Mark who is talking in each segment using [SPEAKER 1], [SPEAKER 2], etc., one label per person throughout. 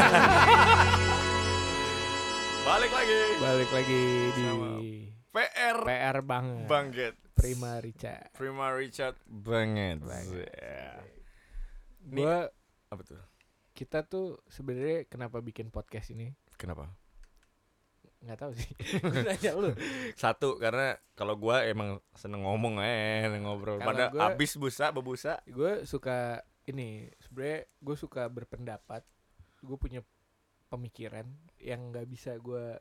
[SPEAKER 1] Balik lagi
[SPEAKER 2] Balik lagi di
[SPEAKER 1] Sama. PR
[SPEAKER 2] PR banget.
[SPEAKER 1] Bangget
[SPEAKER 2] Prima Rica.
[SPEAKER 1] Prima Richard Banget
[SPEAKER 2] Banget.
[SPEAKER 1] Ya. Nih.
[SPEAKER 2] Gua
[SPEAKER 1] Apa tuh?
[SPEAKER 2] kita tuh sebenarnya kenapa bikin podcast ini?
[SPEAKER 1] Kenapa?
[SPEAKER 2] nggak tahu sih. Gua Nanya lu.
[SPEAKER 1] Satu karena kalau gua emang seneng ngomong eh ngobrol.
[SPEAKER 2] Kalau
[SPEAKER 1] Pada
[SPEAKER 2] gua-
[SPEAKER 1] abis busa bebusa.
[SPEAKER 2] Gue suka ini, sebenarnya gue suka berpendapat. Gue punya pemikiran yang nggak bisa gue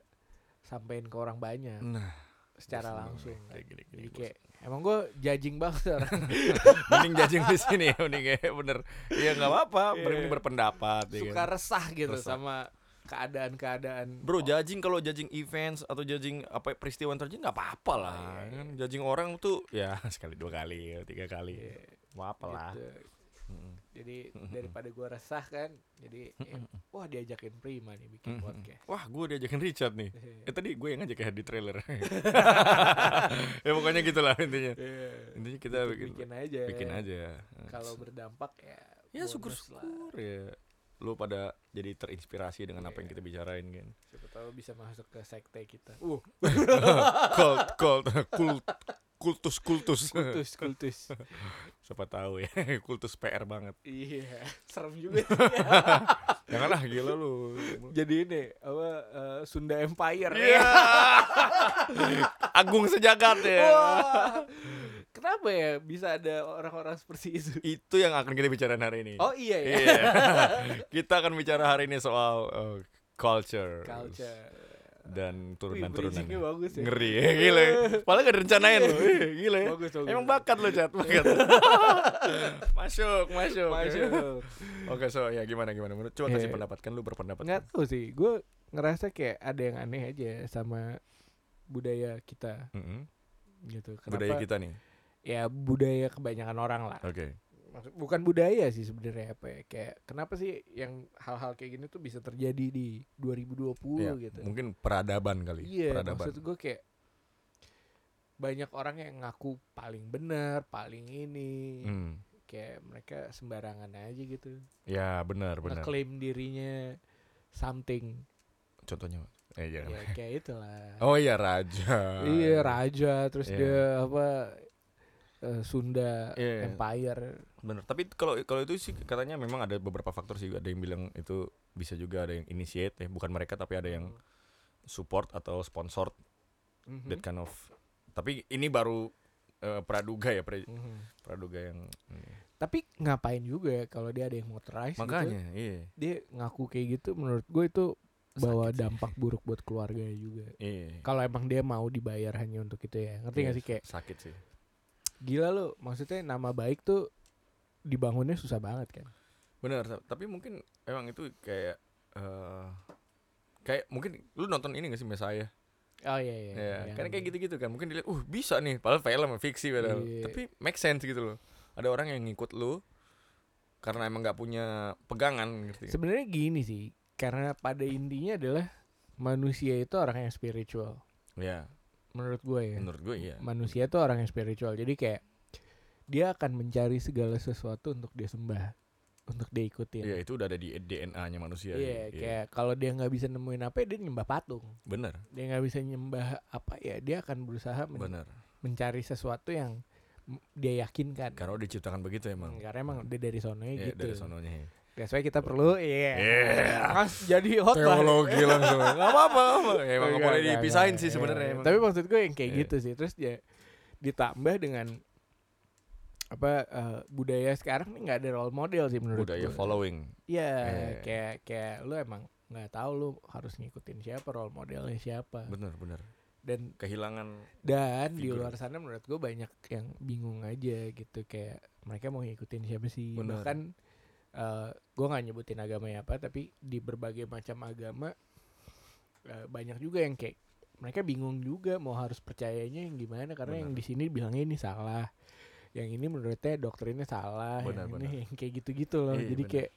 [SPEAKER 2] sampein ke orang banyak
[SPEAKER 1] Nah,
[SPEAKER 2] secara
[SPEAKER 1] seneng
[SPEAKER 2] langsung.
[SPEAKER 1] nih,
[SPEAKER 2] kan.
[SPEAKER 1] kayak gini, gini
[SPEAKER 2] Jadi
[SPEAKER 1] gua
[SPEAKER 2] kayak emang gue jajing banget orang.
[SPEAKER 1] mending jajing di sini ya, mending kayak bener. Ya nggak apa-apa,
[SPEAKER 2] Iya.
[SPEAKER 1] mending berpendapat. ya
[SPEAKER 2] suka
[SPEAKER 1] kan.
[SPEAKER 2] resah gitu
[SPEAKER 1] Resah.
[SPEAKER 2] sama keadaan-keadaan.
[SPEAKER 1] Bro, judging kalau judging events atau judging apa peristiwa yang terjadi nggak apa-apa lah.
[SPEAKER 2] Iya, iya.
[SPEAKER 1] Kan judging orang tuh ya sekali dua kali, tiga kali.
[SPEAKER 2] Iya,
[SPEAKER 1] Mau apa lah.
[SPEAKER 2] gitu.
[SPEAKER 1] Mm-mm.
[SPEAKER 2] Jadi daripada gua resah kan, jadi eh, wah diajakin Prima nih bikin podcast.
[SPEAKER 1] Wah, gue diajakin Richard nih.
[SPEAKER 2] Iya.
[SPEAKER 1] Eh tadi gue yang ngajak ya di trailer. ya pokoknya gitulah intinya.
[SPEAKER 2] Iya.
[SPEAKER 1] Intinya kita
[SPEAKER 2] Untuk
[SPEAKER 1] bikin bikin,
[SPEAKER 2] bikin aja.
[SPEAKER 1] aja.
[SPEAKER 2] Kalau berdampak
[SPEAKER 1] ya
[SPEAKER 2] ya. bonus lah. Iya.
[SPEAKER 1] syukur-syukur ya. Lu pada jadi terinspirasi dengan apa yang kita bicarain kan.
[SPEAKER 2] Siapa tahu bisa masuk ke sekte kita. Uh,
[SPEAKER 1] Cult, cult, kult, kultus, kultus.
[SPEAKER 2] kultus, kultus.
[SPEAKER 1] Siapa tahu ya, kultus PR banget.
[SPEAKER 2] Iya, serem juga. sih.
[SPEAKER 1] Janganlah gila lu.
[SPEAKER 2] jadi ini apa eh, Sunda Empire.
[SPEAKER 1] Iya. Agung sejagat ya.
[SPEAKER 2] Wah. Kenapa ya bisa ada orang-orang seperti itu?
[SPEAKER 1] Itu yang akan kita bicarain hari ini.
[SPEAKER 2] Oh iya ya.
[SPEAKER 1] Iya. kita akan bicara hari ini soal eh, culture.
[SPEAKER 2] Culture.
[SPEAKER 1] dan
[SPEAKER 2] Wih, bridgingnya
[SPEAKER 1] turunan-turunannya.
[SPEAKER 2] bagus ya. Iya.
[SPEAKER 1] Ngeri ya, gila. ya. Padahal gak direncanain loh. Ih, Gila ya.
[SPEAKER 2] Bagus, bagus. Iya.
[SPEAKER 1] Emang bakat lo, Cat. Bakat. masuk, masuk.
[SPEAKER 2] Masuk.
[SPEAKER 1] Oke, so ya gimana gimana menurut coba kasih
[SPEAKER 2] Iya.
[SPEAKER 1] pendapat kan lu berpendapat.
[SPEAKER 2] nggak tahu sih gue ngerasa kayak ada yang aneh aja sama budaya kita
[SPEAKER 1] Mm-mm.
[SPEAKER 2] gitu kenapa
[SPEAKER 1] Budaya kita nih.
[SPEAKER 2] ya budaya kebanyakan orang lah
[SPEAKER 1] Oke.
[SPEAKER 2] Maksud- bukan budaya sih sebenarnya apa ya kayak kenapa sih yang hal-hal kayak gini tuh bisa terjadi di 2020
[SPEAKER 1] Iya,
[SPEAKER 2] gitu
[SPEAKER 1] Mungkin peradaban kali.
[SPEAKER 2] iya
[SPEAKER 1] peradaban.
[SPEAKER 2] maksud gue kayak banyak orang yang ngaku paling benar paling ini
[SPEAKER 1] Hmm.
[SPEAKER 2] kayak mereka sembarangan aja gitu
[SPEAKER 1] Ya, benar, benar.
[SPEAKER 2] ngeklaim dirinya something
[SPEAKER 1] Contohnya. Eh, jangan.
[SPEAKER 2] ya kayak itulah
[SPEAKER 1] Oh iya, raja.
[SPEAKER 2] Iya raja terus
[SPEAKER 1] Iya.
[SPEAKER 2] dia apa eh, Sunda
[SPEAKER 1] Iya, iya.
[SPEAKER 2] Empire.
[SPEAKER 1] Bener. Tapi kalau kalau itu sih katanya memang ada beberapa faktor sih. Ada yang bilang itu bisa juga ada yang initiate ya, bukan mereka tapi ada yang support atau sponsor
[SPEAKER 2] Mhm.
[SPEAKER 1] that kind of. Tapi ini baru eh, praduga ya, pra-
[SPEAKER 2] Mhm.
[SPEAKER 1] praduga yang ini.
[SPEAKER 2] Tapi ngapain juga ya kalau dia ada yang motorized gitu,
[SPEAKER 1] makanya iya.
[SPEAKER 2] dia ngaku kayak gitu menurut gue itu
[SPEAKER 1] Sakit
[SPEAKER 2] bawa
[SPEAKER 1] sih.
[SPEAKER 2] dampak buruk buat keluarganya juga.
[SPEAKER 1] Iya.
[SPEAKER 2] Kalau emang dia mau dibayar hanya untuk itu ya. Ngerti
[SPEAKER 1] Iya,
[SPEAKER 2] gak sih kayak
[SPEAKER 1] sakit sih.
[SPEAKER 2] gila lo maksudnya nama baik tuh dibangunnya susah banget kan.
[SPEAKER 1] Bener, ta- tapi mungkin emang itu kayak eh kayak mungkin lu nonton ini gak sih Messiah?
[SPEAKER 2] Oh iya iya.
[SPEAKER 1] Ya,
[SPEAKER 2] yang-
[SPEAKER 1] karena kayak gitu-gitu kan. Mungkin dilihat, uh bisa nih, padahal film fiksi padahal.
[SPEAKER 2] Iya.
[SPEAKER 1] Tapi make sense gitu loh. Ada orang yang ngikut lu karena emang nggak punya pegangan ngerti. nggak?
[SPEAKER 2] Sebenarnya gini sih, karena pada intinya adalah manusia itu orang yang spiritual
[SPEAKER 1] Ya,
[SPEAKER 2] menurut gue ya.
[SPEAKER 1] menurut gue iya.
[SPEAKER 2] manusia tuh orang yang spiritual jadi kayak dia akan mencari segala sesuatu untuk dia sembah untuk dia ikutin
[SPEAKER 1] Iya,
[SPEAKER 2] iya
[SPEAKER 1] itu udah ada di DNA-nya manusia. Iya.
[SPEAKER 2] kayak kalau dia nggak bisa nemuin apa ya dia nyembah patung
[SPEAKER 1] bener,
[SPEAKER 2] dia nggak bisa nyembah apa ya dia akan berusaha men-
[SPEAKER 1] bener.
[SPEAKER 2] mencari sesuatu yang m- dia yakinkan
[SPEAKER 1] Karena udah diciptakan begitu emang.
[SPEAKER 2] Hmm, karena emang udah dari sononya
[SPEAKER 1] Iya,
[SPEAKER 2] Iya. gitu
[SPEAKER 1] dari sononya. ya.
[SPEAKER 2] that's why kita perlu iya
[SPEAKER 1] Iya.
[SPEAKER 2] Mas, jadi hotline
[SPEAKER 1] Teologi langsung. Gak gitu. apa-apa. apa-apa. Ya, emang nggak
[SPEAKER 2] Enggak,
[SPEAKER 1] boleh
[SPEAKER 2] enggak,
[SPEAKER 1] dipisahin
[SPEAKER 2] enggak,
[SPEAKER 1] sih
[SPEAKER 2] iya,
[SPEAKER 1] sebenarnya.
[SPEAKER 2] iya.
[SPEAKER 1] emang.
[SPEAKER 2] Tapi maksud gue yang kayak
[SPEAKER 1] Iya.
[SPEAKER 2] gitu sih. Terus ya ditambah dengan apa eh, budaya sekarang nih nggak ada role model sih menurut
[SPEAKER 1] budaya
[SPEAKER 2] gue.
[SPEAKER 1] following.
[SPEAKER 2] Iya,
[SPEAKER 1] Iya.
[SPEAKER 2] kayak kayak lu emang nggak tahu lu harus ngikutin siapa role modelnya siapa.
[SPEAKER 1] Bener, bener.
[SPEAKER 2] Dan
[SPEAKER 1] Kehilangan
[SPEAKER 2] dan di
[SPEAKER 1] Figur.
[SPEAKER 2] luar sana menurut gue banyak yang bingung aja gitu kayak mereka mau ngikutin siapa sih.
[SPEAKER 1] Benar.
[SPEAKER 2] Bahkan eh, gue nggak nyebutin agamanya apa tapi di berbagai macam agama eh, banyak juga yang kayak mereka bingung juga mau harus percayanya yang gimana karena yang di sini bilangnya ini salah. Yang ini menurutnya doktrinnya salah,
[SPEAKER 1] Benar,
[SPEAKER 2] yang
[SPEAKER 1] benar.
[SPEAKER 2] ini yang kayak gitu-gitu loh.
[SPEAKER 1] Iya,
[SPEAKER 2] Jadi
[SPEAKER 1] benar.
[SPEAKER 2] kayak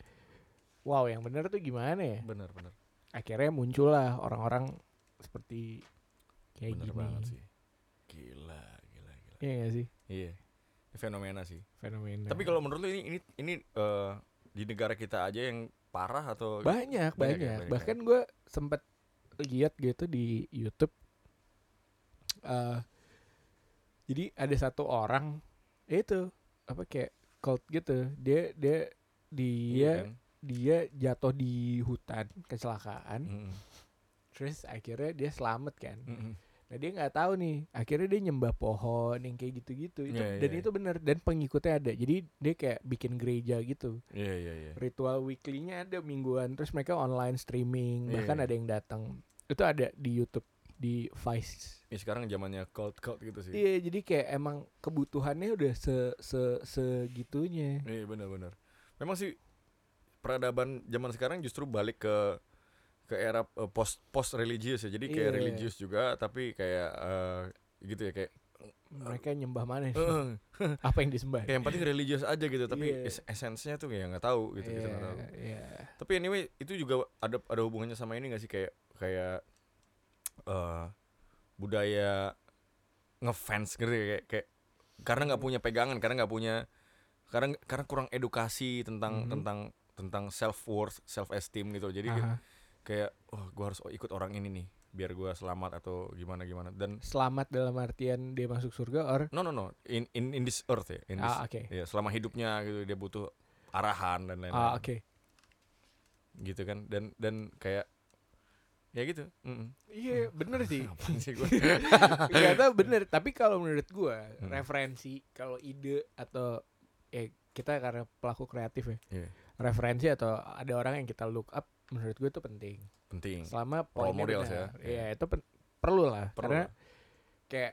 [SPEAKER 2] wow, yang benar tuh gimana ya?
[SPEAKER 1] bener, bener.
[SPEAKER 2] akhirnya muncullah orang-orang seperti kayak
[SPEAKER 1] bener
[SPEAKER 2] gini.
[SPEAKER 1] banget sih. Gila, gila, gila.
[SPEAKER 2] Iya gak sih
[SPEAKER 1] Iya. Ini fenomena sih.
[SPEAKER 2] fenomena.
[SPEAKER 1] Tapi kalau menurut lu ini ini ini eh, di negara kita aja yang parah atau
[SPEAKER 2] banyak banyak,
[SPEAKER 1] Banyak ya, banyak
[SPEAKER 2] bahkan gue sempet lihat gitu di YouTube eh jadi ada satu orang ya itu apa kayak cult gitu dia dia
[SPEAKER 1] Iya
[SPEAKER 2] dia
[SPEAKER 1] kan?
[SPEAKER 2] dia jatuh di hutan kecelakaan
[SPEAKER 1] Mm-mm.
[SPEAKER 2] terus akhirnya dia selamat kan
[SPEAKER 1] Mm-mm.
[SPEAKER 2] nah dia nggak tahu nih akhirnya dia nyembah pohon yang kayak gitu-gitu itu
[SPEAKER 1] Iya,
[SPEAKER 2] dan
[SPEAKER 1] iya.
[SPEAKER 2] itu bener dan pengikutnya ada jadi dia kayak bikin gereja gitu
[SPEAKER 1] Iya iya iya.
[SPEAKER 2] ritual weekly-nya ada mingguan terus mereka online streaming
[SPEAKER 1] Iya,
[SPEAKER 2] bahkan
[SPEAKER 1] iya.
[SPEAKER 2] ada yang datang itu ada di YouTube di Vice
[SPEAKER 1] Ya, sekarang zamannya cult cult gitu sih.
[SPEAKER 2] iya jadi kayak emang kebutuhannya udah se se segitunya
[SPEAKER 1] Iya benar-benar. Memang sih peradaban zaman sekarang justru balik ke ke era eh, post post religius ya. Jadi kayak
[SPEAKER 2] Iya.
[SPEAKER 1] religius juga tapi kayak eh, gitu ya kayak
[SPEAKER 2] mereka nyembah mana nih?
[SPEAKER 1] eh, Iya,
[SPEAKER 2] apa yang disembah
[SPEAKER 1] kayak yang penting religius aja gitu tapi
[SPEAKER 2] Iya.
[SPEAKER 1] es- esensinya tuh kayak nggak tahu gitu kita
[SPEAKER 2] Iya,
[SPEAKER 1] nggak tahu.
[SPEAKER 2] iya.
[SPEAKER 1] Tapi anyway itu juga ada ada hubungannya sama ini gak sih kayak kayak eh budaya ngefans gitu ya, kayak, kayak karena nggak punya pegangan karena nggak punya karena karena kurang edukasi tentang
[SPEAKER 2] Mhm.
[SPEAKER 1] tentang tentang self worth self esteem gitu loh. jadi kayak,
[SPEAKER 2] Aha.
[SPEAKER 1] kayak oh gue harus ikut orang ini nih biar gua selamat atau gimana gimana dan
[SPEAKER 2] selamat dalam artian dia masuk surga or
[SPEAKER 1] no no no in in, in this earth ya in this-
[SPEAKER 2] ah oke
[SPEAKER 1] ya, selama hidupnya gitu dia butuh arahan dan lain-lain
[SPEAKER 2] ah oke
[SPEAKER 1] gitu kan dan dan kayak ya gitu mm-mm.
[SPEAKER 2] iya
[SPEAKER 1] Hmm.
[SPEAKER 2] bener sih
[SPEAKER 1] Apaan sih gua?
[SPEAKER 2] Gak tau bener Tapi kalau menurut gue
[SPEAKER 1] Hmm.
[SPEAKER 2] Referensi Kalau ide Atau ya Kita karena pelaku kreatif ya
[SPEAKER 1] Iya.
[SPEAKER 2] Referensi atau Ada orang yang kita look up Menurut gue itu penting
[SPEAKER 1] penting
[SPEAKER 2] Selama
[SPEAKER 1] Hmm. Role
[SPEAKER 2] poinnya
[SPEAKER 1] models
[SPEAKER 2] benar.
[SPEAKER 1] ya.
[SPEAKER 2] Iya itu pen- perlu lah
[SPEAKER 1] Perlu
[SPEAKER 2] Karena
[SPEAKER 1] lah.
[SPEAKER 2] Kayak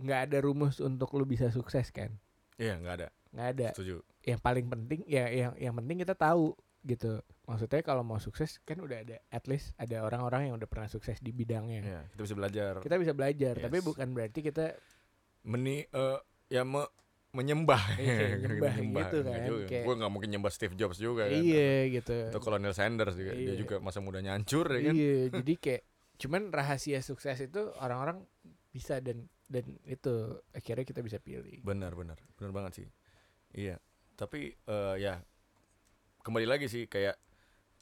[SPEAKER 2] nggak ada rumus untuk lu bisa sukses kan
[SPEAKER 1] iya nggak ada
[SPEAKER 2] nggak ada
[SPEAKER 1] setuju
[SPEAKER 2] Yang paling penting Ya yang, yang penting kita tahu gitu Maksudnya kalau mau sukses Kan udah ada At least ada orang-orang yang udah pernah sukses di bidangnya
[SPEAKER 1] Iya, kita bisa belajar
[SPEAKER 2] Kita bisa belajar Tapi
[SPEAKER 1] Yes.
[SPEAKER 2] bukan berarti kita
[SPEAKER 1] meni eh, ya me, menyembah
[SPEAKER 2] Iya, kayak menyembah gitu kan, kayak-
[SPEAKER 1] gue nggak mungkin nyembah Steve Jobs juga kan
[SPEAKER 2] Iya gitu
[SPEAKER 1] atau Colonel Sanders juga dia
[SPEAKER 2] Iya.
[SPEAKER 1] juga masa mudanya hancur ya kan
[SPEAKER 2] Iya, jadi kayak cuman rahasia sukses itu orang-orang bisa dan dan itu akhirnya kita bisa pilih.
[SPEAKER 1] benar benar benar banget sih iya tapi eh, ya kembali lagi sih kayak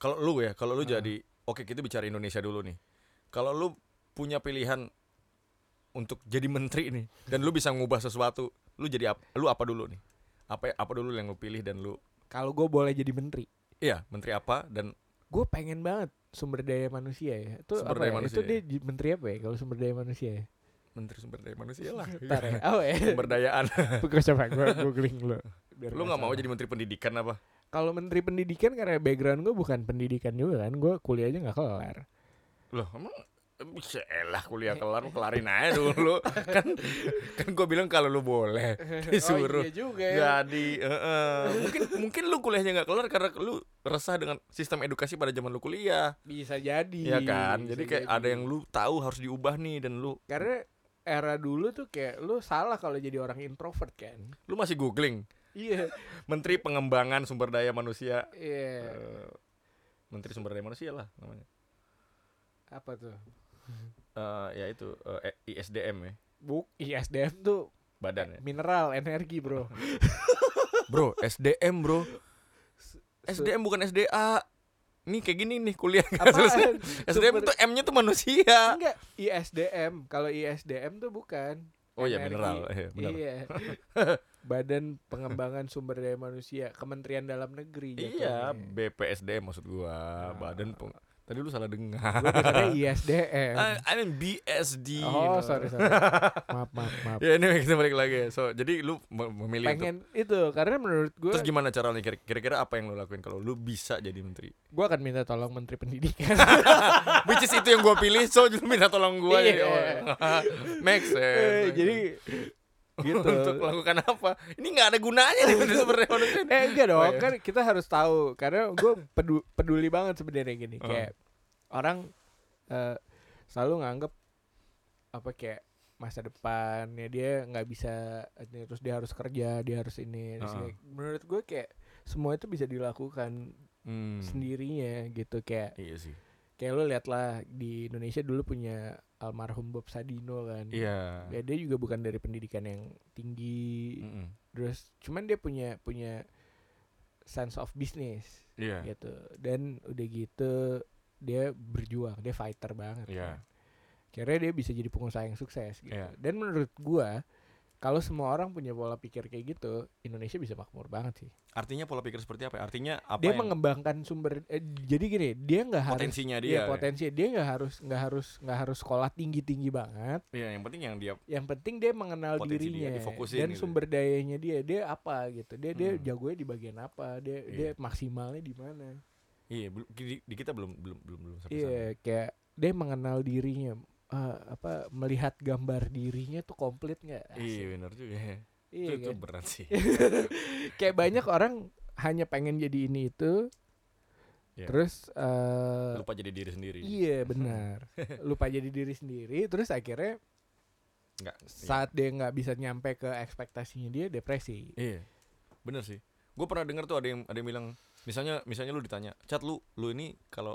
[SPEAKER 1] kalau lu ya kalau lu
[SPEAKER 2] Ah.
[SPEAKER 1] jadi oke kita bicara Indonesia dulu nih kalau lu punya pilihan untuk jadi menteri nih dan lu bisa ngubah sesuatu lu jadi ap- lu apa dulu nih apa apa dulu yang lu pilih dan lu
[SPEAKER 2] Kalau gue boleh jadi menteri,
[SPEAKER 1] iya menteri apa dan
[SPEAKER 2] gue pengen banget sumber daya manusia ya. Itu
[SPEAKER 1] Sumber
[SPEAKER 2] apa
[SPEAKER 1] daya
[SPEAKER 2] ya?
[SPEAKER 1] manusia
[SPEAKER 2] Itu
[SPEAKER 1] ya?
[SPEAKER 2] dia j- menteri apa ya kalau sumber daya manusia ya?
[SPEAKER 1] menteri sumber daya manusia lah
[SPEAKER 2] Ntar ya. Oh ya.
[SPEAKER 1] sumber dayaan
[SPEAKER 2] Gue coba gue googling lo. biar
[SPEAKER 1] lu nggak mau
[SPEAKER 2] salah.
[SPEAKER 1] jadi menteri pendidikan apa
[SPEAKER 2] Kalau menteri pendidikan karena background gue bukan pendidikan juga kan, gue kuliahnya nggak kelar.
[SPEAKER 1] loh emang bisa lah kuliah kelar lu kelarin aja dulu kan kan gue bilang kalau lu boleh
[SPEAKER 2] Oh,
[SPEAKER 1] disuruh
[SPEAKER 2] iya juga. ya.
[SPEAKER 1] jadi eh, eh. mungkin mungkin lu kuliahnya nggak kelar karena lu resah dengan sistem edukasi pada zaman lu kuliah
[SPEAKER 2] Bisa jadi.
[SPEAKER 1] Iya kan
[SPEAKER 2] bisa
[SPEAKER 1] jadi kayak ada yang lu tahu harus diubah nih dan lu
[SPEAKER 2] Karena era dulu tuh kayak lu salah kalau jadi orang introvert kan.
[SPEAKER 1] lu masih googling
[SPEAKER 2] Iya.
[SPEAKER 1] menteri pengembangan sumber daya manusia
[SPEAKER 2] Iya.
[SPEAKER 1] Eh, menteri sumber daya manusia lah namanya
[SPEAKER 2] Apa tuh?
[SPEAKER 1] Eh, ya itu eh, ISDM ya
[SPEAKER 2] Buk iya, ISDM tuh Eh,
[SPEAKER 1] badan ya
[SPEAKER 2] mineral energi, Bro.
[SPEAKER 1] Bro, SDM bro
[SPEAKER 2] Se-
[SPEAKER 1] SDM bukan SDA Nih kayak gini nih kuliah nggak selesai
[SPEAKER 2] Apaan?
[SPEAKER 1] SDM
[SPEAKER 2] Sumber-
[SPEAKER 1] tuh M-nya tuh manusia
[SPEAKER 2] Enggak, ISDM. Kalau ISDM tuh bukan.
[SPEAKER 1] Oh iya
[SPEAKER 2] Energi.
[SPEAKER 1] mineral iya, benar.
[SPEAKER 2] Iya. Badan Pengembangan Sumber Daya Manusia, Kementerian Dalam Negeri
[SPEAKER 1] Iya,
[SPEAKER 2] jatuhnya.
[SPEAKER 1] BPSDM maksud gua,
[SPEAKER 2] Ah.
[SPEAKER 1] badan peng... Tadi lu salah
[SPEAKER 2] Gua
[SPEAKER 1] dengar.
[SPEAKER 2] dengarnya ISDM.
[SPEAKER 1] I, I mean BSD.
[SPEAKER 2] Oh,
[SPEAKER 1] no.
[SPEAKER 2] sorry, sorry. Maaf, maaf, maaf.
[SPEAKER 1] Ya anyway kita balik lagi. So, jadi lu me- memilih untuk-
[SPEAKER 2] Pengen itu karena menurut gue
[SPEAKER 1] iya, Terus gimana caranya Kira- kira-kira apa yang lu lakuin kalau lu bisa jadi menteri?
[SPEAKER 2] gue akan minta tolong Menteri Pendidikan.
[SPEAKER 1] Which is itu yang gua pilih, so lu minta tolong gua jadi
[SPEAKER 2] Iya.
[SPEAKER 1] orang. Make sense.
[SPEAKER 2] Eh,
[SPEAKER 1] make
[SPEAKER 2] jadi
[SPEAKER 1] sense.
[SPEAKER 2] gitu.
[SPEAKER 1] Iya, untuk melakukan apa? Ini nggak ada gunanya nih menteri sumber daya manusia.
[SPEAKER 2] eh enggak dong,
[SPEAKER 1] Oh, iya.
[SPEAKER 2] kan kita harus tahu karena gue peduli, banget sebenarnya gini
[SPEAKER 1] Oh.
[SPEAKER 2] kayak orang eh, selalu nganggep apa kayak masa depannya dia nggak bisa ini, terus dia harus kerja dia harus ini terus
[SPEAKER 1] Oh.
[SPEAKER 2] kayak- menurut gue kayak semua itu bisa dilakukan
[SPEAKER 1] Hmm,
[SPEAKER 2] sendirinya gitu kayak
[SPEAKER 1] Iya sih.
[SPEAKER 2] kayak lo liatlah di Indonesia dulu punya almarhum Bob Sadino kan
[SPEAKER 1] Iya.
[SPEAKER 2] ya dia juga bukan
[SPEAKER 1] Hmm.
[SPEAKER 2] dari pendidikan yang tinggi
[SPEAKER 1] Mm-mm.
[SPEAKER 2] terus cuman dia punya punya sense of business
[SPEAKER 1] Iya.
[SPEAKER 2] gitu dan udah gitu dia berjuang dia fighter banget
[SPEAKER 1] Iya.
[SPEAKER 2] kan. akhirnya dia bisa jadi pengusaha yang sukses gitu
[SPEAKER 1] Iya.
[SPEAKER 2] dan menurut gua kalau semua orang punya pola pikir kayak gitu Indonesia bisa makmur banget sih
[SPEAKER 1] Artinya pola pikir seperti apa? ya? Artinya apa
[SPEAKER 2] dia
[SPEAKER 1] yang
[SPEAKER 2] mengembangkan sumber eh, jadi gini dia nggak harus
[SPEAKER 1] potensinya
[SPEAKER 2] dia
[SPEAKER 1] dia? ya.
[SPEAKER 2] potensi dia nggak harus nggak harus nggak harus sekolah tinggi tinggi banget
[SPEAKER 1] ya? Iya, yang penting yang dia
[SPEAKER 2] yang penting dia mengenal
[SPEAKER 1] Potensi dia
[SPEAKER 2] dirinya
[SPEAKER 1] difokusin
[SPEAKER 2] dan
[SPEAKER 1] gitu.
[SPEAKER 2] sumber dayanya dia dia apa gitu dia dia
[SPEAKER 1] Hmm.
[SPEAKER 2] jagonya di bagian apa dia dia
[SPEAKER 1] Iya.
[SPEAKER 2] maksimalnya di mana
[SPEAKER 1] iya bel- di, di kita belum belum belum belum sampai
[SPEAKER 2] Iya, kayak dia mengenal dirinya, eh, apa melihat gambar dirinya tuh komplit nggak?
[SPEAKER 1] sana. Iya,
[SPEAKER 2] Asik.
[SPEAKER 1] benar juga. ya. itu,
[SPEAKER 2] Iya,
[SPEAKER 1] itu
[SPEAKER 2] kan?
[SPEAKER 1] berat sih.
[SPEAKER 2] kayak banyak orang hanya pengen jadi ini itu,
[SPEAKER 1] Iya.
[SPEAKER 2] terus eh,
[SPEAKER 1] Lupa jadi diri sendiri.
[SPEAKER 2] iya benar, lupa jadi diri sendiri, terus
[SPEAKER 1] Iya.
[SPEAKER 2] akhirnya
[SPEAKER 1] Enggak.
[SPEAKER 2] saat dia nggak bisa nyampe ke ekspektasinya dia depresi.
[SPEAKER 1] Iya. Bener sih. Gue pernah dengar tuh ada yang ada yang bilang misalnya misalnya lu ditanya, "Chat lu, lu ini kalau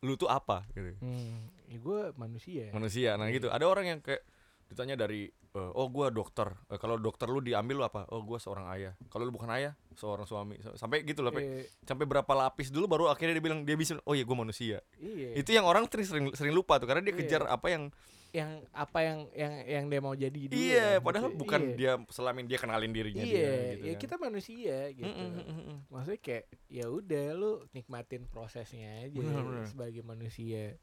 [SPEAKER 1] lu tuh apa?" gitu.
[SPEAKER 2] Hmm, ya gue manusia.
[SPEAKER 1] Manusia. Nah, gitu. Ada orang yang kayak ditanya dari eh, oh gua dokter. Eh, kalau dokter lu diambil lu apa? Oh, gua seorang ayah. Kalau lu bukan ayah, seorang suami. Sampai gitu loh, Pe.
[SPEAKER 2] Eh,
[SPEAKER 1] sampai berapa lapis dulu baru akhirnya dia bilang dia bisa oh iya gue manusia
[SPEAKER 2] iya.
[SPEAKER 1] itu yang orang sering sering, sering lupa tuh karena dia
[SPEAKER 2] Iya.
[SPEAKER 1] kejar apa yang
[SPEAKER 2] yang apa yang yang yang dia mau jadi dulu.
[SPEAKER 1] iya
[SPEAKER 2] kan,
[SPEAKER 1] padahal
[SPEAKER 2] gitu.
[SPEAKER 1] bukan
[SPEAKER 2] Iya.
[SPEAKER 1] dia selamin dia kenalin dirinya
[SPEAKER 2] Iya,
[SPEAKER 1] dia gitu
[SPEAKER 2] ya
[SPEAKER 1] kan.
[SPEAKER 2] kita manusia gitu.
[SPEAKER 1] Mm, mm, mm, mm.
[SPEAKER 2] maksudnya kayak ya udah lu nikmatin prosesnya aja
[SPEAKER 1] Bener, bener.
[SPEAKER 2] sebagai manusia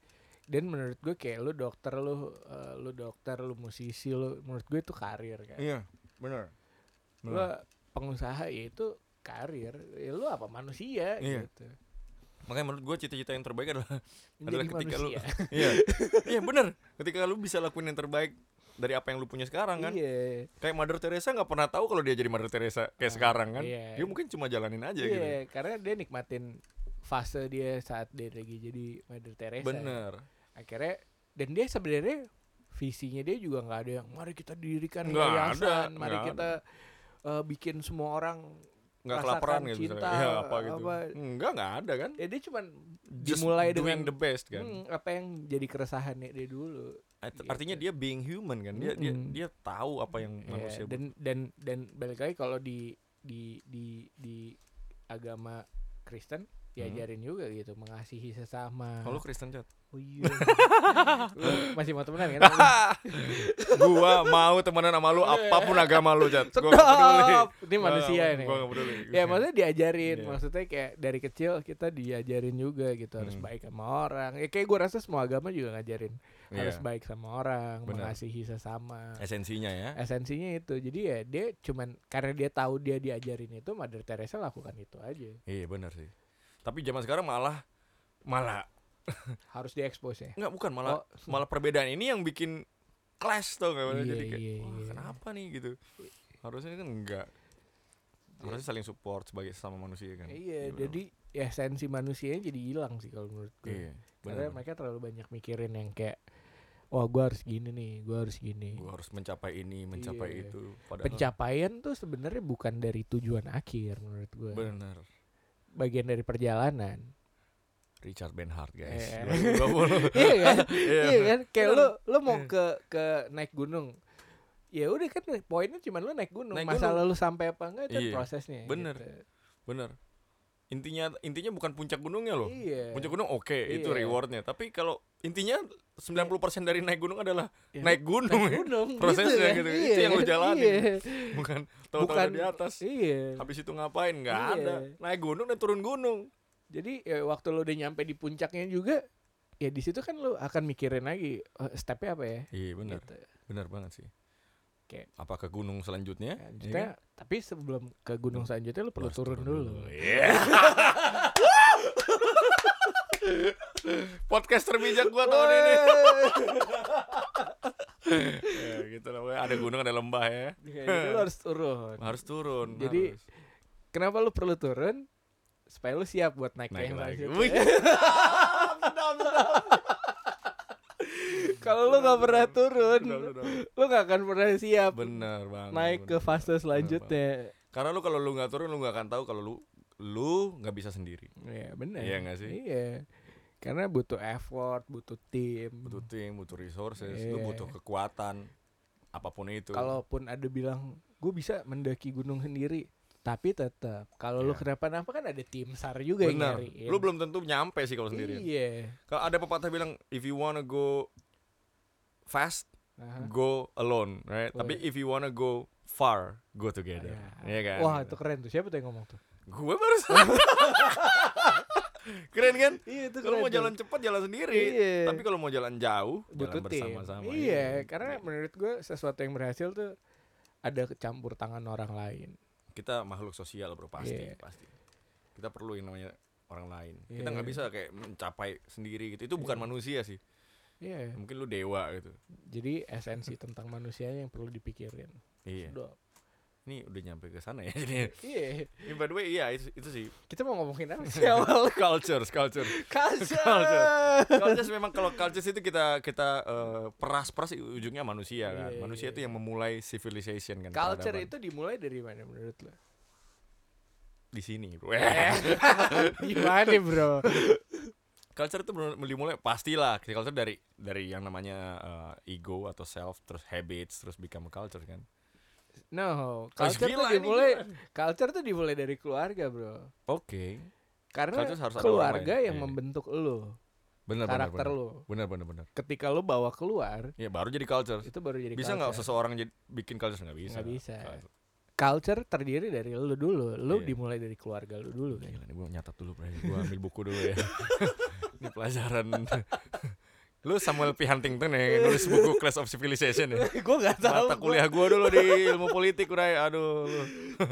[SPEAKER 2] dan menurut gue kayak lu dokter lu eh, lu dokter lu musisi lu menurut gue itu karir kan
[SPEAKER 1] iya benar
[SPEAKER 2] lu pengusaha ya itu karir ya lu apa manusia
[SPEAKER 1] Iya.
[SPEAKER 2] gitu
[SPEAKER 1] makanya menurut gue cita-cita yang terbaik adalah
[SPEAKER 2] menjadi
[SPEAKER 1] ketika lu-
[SPEAKER 2] manusia
[SPEAKER 1] iya iya benar ketika lu bisa lakuin yang terbaik dari apa yang lu punya sekarang kan
[SPEAKER 2] iya
[SPEAKER 1] kayak Mother Teresa nggak pernah tahu kalau dia jadi Mother Teresa kayak
[SPEAKER 2] Ah,
[SPEAKER 1] sekarang kan
[SPEAKER 2] iya.
[SPEAKER 1] dia mungkin cuma jalanin aja
[SPEAKER 2] iya
[SPEAKER 1] gitu
[SPEAKER 2] karena dia nikmatin fase dia saat dia lagi jadi Mother Teresa ya.
[SPEAKER 1] bener
[SPEAKER 2] akhirnya dan dia sebenarnya visinya dia juga nggak ada yang mari kita dirikan
[SPEAKER 1] Nggak ada,
[SPEAKER 2] yayasan mari
[SPEAKER 1] nggak
[SPEAKER 2] kita eh, bikin semua orang
[SPEAKER 1] nggak
[SPEAKER 2] Rasakan
[SPEAKER 1] kelaparan gitu misalnya.
[SPEAKER 2] cinta,
[SPEAKER 1] ya, apa gitu
[SPEAKER 2] apa-
[SPEAKER 1] enggak nggak ada kan
[SPEAKER 2] ya dia cuman
[SPEAKER 1] Just
[SPEAKER 2] dimulai
[SPEAKER 1] doing
[SPEAKER 2] dengan
[SPEAKER 1] the best kan
[SPEAKER 2] hmm, apa yang jadi keresahannya dia dulu
[SPEAKER 1] Art-
[SPEAKER 2] Gitu.
[SPEAKER 1] Artinya dia being human kan. Dia dia
[SPEAKER 2] Mm-mm.
[SPEAKER 1] dia tahu apa yang
[SPEAKER 2] Ya,
[SPEAKER 1] manusia butuh.
[SPEAKER 2] dan dan dan balik lagi kalau di di di di agama Kristen diajarin juga gitu mengasihi sesama
[SPEAKER 1] Hmm. Kalau lu Kristen chat.
[SPEAKER 2] Oh iya. Lu masih mau temenan kan
[SPEAKER 1] gua mau temenan sama lu apapun agama lu chat. Gua nggak peduli.
[SPEAKER 2] Iya. Stop. ini manusia
[SPEAKER 1] Gua-
[SPEAKER 2] ini
[SPEAKER 1] Gua nggak peduli.
[SPEAKER 2] ya maksudnya diajarin
[SPEAKER 1] Iya.
[SPEAKER 2] maksudnya kayak dari kecil kita diajarin juga gitu harus
[SPEAKER 1] Hmm.
[SPEAKER 2] baik sama orang ya kayak gue rasa semua agama juga ngajarin
[SPEAKER 1] Iya.
[SPEAKER 2] harus baik sama orang
[SPEAKER 1] Benar.
[SPEAKER 2] mengasihi sesama
[SPEAKER 1] esensinya ya.
[SPEAKER 2] esensinya itu jadi ya dia cuman karena dia tahu dia diajarin itu Mother Teresa lakukan itu aja
[SPEAKER 1] Iya benar sih. Tapi zaman sekarang malah malah
[SPEAKER 2] harus diekspos ya
[SPEAKER 1] enggak bukan malah
[SPEAKER 2] Oh.
[SPEAKER 1] malah perbedaan ini yang bikin clash tuh nggak
[SPEAKER 2] Iya,
[SPEAKER 1] jadi kayak
[SPEAKER 2] iya,
[SPEAKER 1] "Wah,
[SPEAKER 2] iya.
[SPEAKER 1] kenapa nih gitu. Harusnya kan enggak. Harusnya saling support sebagai sesama manusia kan.
[SPEAKER 2] iya
[SPEAKER 1] Gimana?
[SPEAKER 2] jadi ya esensi manusianya jadi hilang sih kalau menurut gue
[SPEAKER 1] iya.
[SPEAKER 2] karena
[SPEAKER 1] benar-benar.
[SPEAKER 2] mereka terlalu banyak mikirin yang kayak wah gue harus gini nih gue harus gini
[SPEAKER 1] Gua harus mencapai ini, mencapai
[SPEAKER 2] Iya.
[SPEAKER 1] itu. Padahal
[SPEAKER 2] pencapaian tuh sebenarnya bukan dari tujuan akhir menurut gue
[SPEAKER 1] Bener
[SPEAKER 2] bagian dari perjalanan.
[SPEAKER 1] Richard Benhart guys
[SPEAKER 2] Iya.
[SPEAKER 1] 2020.
[SPEAKER 2] iya kan?
[SPEAKER 1] Iya.
[SPEAKER 2] Iya kan? Kayak lu lu mau
[SPEAKER 1] Iya.
[SPEAKER 2] ke ke naik gunung. Ya udah kan poinnya cuma lu naik gunung.
[SPEAKER 1] Naik
[SPEAKER 2] Masalah lu sampai apa enggak itu
[SPEAKER 1] Iya.
[SPEAKER 2] prosesnya.
[SPEAKER 1] Bener.
[SPEAKER 2] gitu.
[SPEAKER 1] Bener Intinya intinya bukan puncak gunungnya loh
[SPEAKER 2] Iya.
[SPEAKER 1] Puncak gunung oke itu
[SPEAKER 2] Iya.
[SPEAKER 1] rewardnya Tapi kalau intinya 90% dari naik gunung adalah
[SPEAKER 2] Ya,
[SPEAKER 1] naik gunung
[SPEAKER 2] naik
[SPEAKER 1] ya.
[SPEAKER 2] gunung,
[SPEAKER 1] Prosesnya gitu.
[SPEAKER 2] kan?
[SPEAKER 1] Itu
[SPEAKER 2] Iya,
[SPEAKER 1] yang lu jalanin.
[SPEAKER 2] Iya.
[SPEAKER 1] Bukan tahu-tahu
[SPEAKER 2] Bukan
[SPEAKER 1] udah di atas
[SPEAKER 2] Iya.
[SPEAKER 1] Habis itu ngapain nggak
[SPEAKER 2] Iya.
[SPEAKER 1] ada Naik gunung dan turun gunung
[SPEAKER 2] Jadi ya, waktu lu udah nyampe di puncaknya juga ya di situ kan lu akan mikirin lagi eh, stepnya apa ya?
[SPEAKER 1] Iya bener
[SPEAKER 2] Gitu.
[SPEAKER 1] Bener banget sih
[SPEAKER 2] Oke.
[SPEAKER 1] Apa ke gunung selanjutnya
[SPEAKER 2] Nah, maksudnya,
[SPEAKER 1] Iya kan?
[SPEAKER 2] tapi sebelum ke gunung selanjutnya lu perlu
[SPEAKER 1] Harus
[SPEAKER 2] turun, dulu.
[SPEAKER 1] Iya Podcast terbijak
[SPEAKER 2] Iya,
[SPEAKER 1] gua tahun ini ya, gitu lah pokoknya ada gunung ada lembah ya
[SPEAKER 2] Iya, Jadi lu harus turun.
[SPEAKER 1] harus turun
[SPEAKER 2] Jadi, eh,
[SPEAKER 1] harus.
[SPEAKER 2] Kenapa lu perlu turun? Supaya lu siap buat naik,
[SPEAKER 1] naik
[SPEAKER 2] yang
[SPEAKER 1] lagi
[SPEAKER 2] selanjutnya.
[SPEAKER 1] Wih.
[SPEAKER 2] Kalau lu nggak pernah turun,
[SPEAKER 1] Udah, udah, udah.
[SPEAKER 2] lu nggak akan pernah siap
[SPEAKER 1] bener banget
[SPEAKER 2] naik ke
[SPEAKER 1] bener.
[SPEAKER 2] fase selanjutnya.
[SPEAKER 1] karena lu kalau lu nggak turun lu nggak akan tahu kalau lu lu nggak bisa sendiri
[SPEAKER 2] Iya benar.
[SPEAKER 1] Iya nggak sih?
[SPEAKER 2] Iya. Karena butuh effort, butuh tim.
[SPEAKER 1] butuh tim butuh resources lu
[SPEAKER 2] Hmm. Iya.
[SPEAKER 1] butuh kekuatan apapun itu
[SPEAKER 2] Kalaupun ada bilang gue bisa mendaki gunung sendiri, Tapi tetap kalau lu
[SPEAKER 1] Iya.
[SPEAKER 2] kenapa-napa kan ada tim SAR juga yang
[SPEAKER 1] Benar.
[SPEAKER 2] nyariin.
[SPEAKER 1] Lu belum tentu nyampe sih kalau sendirian.
[SPEAKER 2] Iya.
[SPEAKER 1] Kalau ada pepatah bilang if you wanna go fast,
[SPEAKER 2] Aha.
[SPEAKER 1] go alone, right? Tapi
[SPEAKER 2] Woi.
[SPEAKER 1] if you wanna go far, go together. Iya
[SPEAKER 2] Iya.
[SPEAKER 1] kan?
[SPEAKER 2] Wah, itu keren tuh. Siapa tuh yang ngomong tuh?
[SPEAKER 1] Gue baru Keren kan?
[SPEAKER 2] Iya, itu
[SPEAKER 1] Kalau mau jalan cepat jalan sendiri.
[SPEAKER 2] Iya.
[SPEAKER 1] Tapi kalau mau jalan jauh,
[SPEAKER 2] butuh
[SPEAKER 1] jalan
[SPEAKER 2] tim.
[SPEAKER 1] bersama-sama.
[SPEAKER 2] Iya, karena menurut gue sesuatu yang berhasil tuh ada campur tangan orang lain.
[SPEAKER 1] kita makhluk sosial bro pasti
[SPEAKER 2] Iya.
[SPEAKER 1] pasti. Kita perlu yang namanya orang lain. Kita
[SPEAKER 2] Iya.
[SPEAKER 1] nggak bisa kayak mencapai sendiri gitu. Itu bukan manusia sih.
[SPEAKER 2] Iya.
[SPEAKER 1] Mungkin lu dewa gitu.
[SPEAKER 2] Jadi esensi tentang manusianya yang perlu dipikirin.
[SPEAKER 1] Iya.
[SPEAKER 2] Sedot.
[SPEAKER 1] Ini udah nyampe ke sana ya. Jadi,
[SPEAKER 2] Iya.
[SPEAKER 1] ini by the way, iya itu, itu sih
[SPEAKER 2] Kita mau ngomongin apa sih awal?
[SPEAKER 1] culture, culture.
[SPEAKER 2] Culture.
[SPEAKER 1] Culture memang kalau culture itu kita kita eh, peras-peras ujungnya manusia kan.
[SPEAKER 2] Iya,
[SPEAKER 1] Manusia
[SPEAKER 2] iya.
[SPEAKER 1] itu yang memulai civilization kan.
[SPEAKER 2] Culture
[SPEAKER 1] peradaban.
[SPEAKER 2] itu dimulai dari mana menurut lo? Eh,
[SPEAKER 1] di sini, bro.
[SPEAKER 2] Gimana bro?
[SPEAKER 1] culture itu bener- dimulai pastilah culture dari dari yang namanya eh, ego atau self terus habits terus become a culture kan
[SPEAKER 2] No,
[SPEAKER 1] Terus
[SPEAKER 2] culture
[SPEAKER 1] gila
[SPEAKER 2] tuh
[SPEAKER 1] ini,
[SPEAKER 2] dimulai,
[SPEAKER 1] gila.
[SPEAKER 2] culture tuh dimulai dari keluarga bro.
[SPEAKER 1] oke
[SPEAKER 2] Karena
[SPEAKER 1] Culture harus ada orang
[SPEAKER 2] keluarga
[SPEAKER 1] lain.
[SPEAKER 2] yang
[SPEAKER 1] Iya.
[SPEAKER 2] membentuk lo,
[SPEAKER 1] bener bener
[SPEAKER 2] karakter
[SPEAKER 1] bener.
[SPEAKER 2] lo.
[SPEAKER 1] bener bener bener
[SPEAKER 2] Ketika lo bawa keluar,
[SPEAKER 1] ya baru jadi culture
[SPEAKER 2] itu baru jadi
[SPEAKER 1] bisa nggak
[SPEAKER 2] culture.
[SPEAKER 1] seseorang jadi bikin culture nggak bisa
[SPEAKER 2] Nggak bisa.
[SPEAKER 1] Culture.
[SPEAKER 2] Culture terdiri dari lo dulu.
[SPEAKER 1] Iya.
[SPEAKER 2] Lo dimulai dari keluarga lo dulu kan.
[SPEAKER 1] Gila, ini gue nyatat dulu bro gue ambil buku dulu ya ini pelajaran lu Samuel P Huntington ya yang nulis buku Class of Civilization ya
[SPEAKER 2] gue gak tahu.
[SPEAKER 1] mata
[SPEAKER 2] gua-
[SPEAKER 1] kuliah gue dulu di ilmu politik udah aduh lu.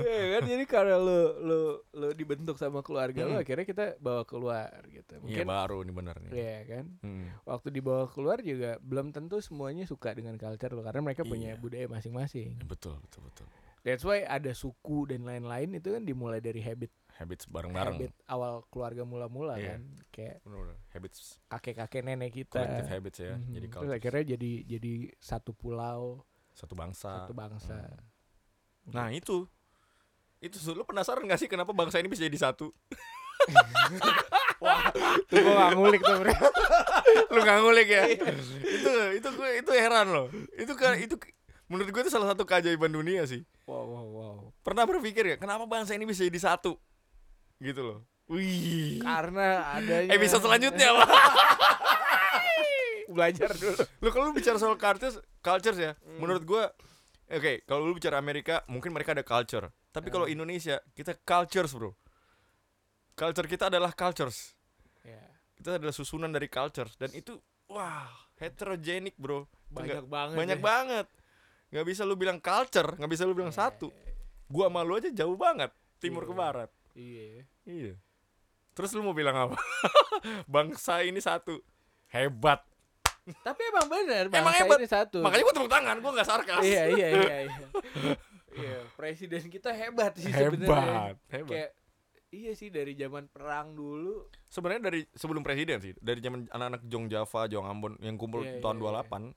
[SPEAKER 2] Iya kan jadi karena lo lo lo dibentuk sama keluarga lo
[SPEAKER 1] Mm.
[SPEAKER 2] akhirnya kita bawa keluar
[SPEAKER 1] Iya
[SPEAKER 2] gitu. Mungkin
[SPEAKER 1] baru nih bener nih
[SPEAKER 2] Iya kan.
[SPEAKER 1] Mm.
[SPEAKER 2] Waktu dibawa keluar juga belum tentu semuanya suka dengan culture lo karena mereka punya
[SPEAKER 1] Iya.
[SPEAKER 2] budaya masing-masing.
[SPEAKER 1] betul betul betul
[SPEAKER 2] That's why ada suku dan lain-lain itu kan dimulai dari habit
[SPEAKER 1] habits bareng bareng
[SPEAKER 2] habit awal keluarga mula-mula
[SPEAKER 1] Iya.
[SPEAKER 2] kan. Kayak
[SPEAKER 1] Bener-bener. habits
[SPEAKER 2] kakek-kakek nenek kita.
[SPEAKER 1] collective habits ya
[SPEAKER 2] Nah. Mhm.
[SPEAKER 1] jadi
[SPEAKER 2] Terus
[SPEAKER 1] culture
[SPEAKER 2] akhirnya jadi jadi satu pulau,
[SPEAKER 1] satu bangsa
[SPEAKER 2] satu bangsa.
[SPEAKER 1] Hmm. nah itu itu Su. lu penasaran gak sih kenapa bangsa ini bisa jadi satu
[SPEAKER 2] Tuh gue gak ngulik tuh bro.
[SPEAKER 1] lu gak ngulik ya itu itu gue itu heran loh itu kan itu menurut gue itu salah satu keajaiban dunia sih
[SPEAKER 2] Wow wow wow.
[SPEAKER 1] pernah berpikir ya kenapa bangsa ini bisa jadi satu gitu loh wih Iya.
[SPEAKER 2] Karena adanya
[SPEAKER 1] episode selanjutnya Pak.
[SPEAKER 2] belajar dulu.
[SPEAKER 1] lu kalau lu bicara soal cultures cultures ya menurut gua oke kalau lu bicara Amerika mungkin mereka ada culture tapi kalau Indonesia kita cultures bro culture kita adalah cultures
[SPEAKER 2] Ya.
[SPEAKER 1] kita adalah susunan dari cultures dan itu wah heterogenik bro Nggak-
[SPEAKER 2] banyak banget
[SPEAKER 1] banyak
[SPEAKER 2] ya.
[SPEAKER 1] banget nggak bisa lu bilang culture nggak bisa lu bilang satu gua sama lu aja jauh banget timur ke
[SPEAKER 2] Iya.
[SPEAKER 1] barat
[SPEAKER 2] iya
[SPEAKER 1] iya terus lu mau bilang apa bangsa ini satu hebat
[SPEAKER 2] tapi emang bener bangsa
[SPEAKER 1] Emang hebat.
[SPEAKER 2] ini satu
[SPEAKER 1] makanya gua tepuk tangan gua nggak sarkas
[SPEAKER 2] iya iya iya iya Iya, presiden kita hebat sih sebenarnya
[SPEAKER 1] hebat hebat
[SPEAKER 2] kayak iya sih dari zaman perang dulu
[SPEAKER 1] sebenarnya dari sebelum presiden sih dari zaman anak-anak Jong Java Jong Ambon yang kumpul
[SPEAKER 2] Iya,
[SPEAKER 1] tahun
[SPEAKER 2] iya, iya.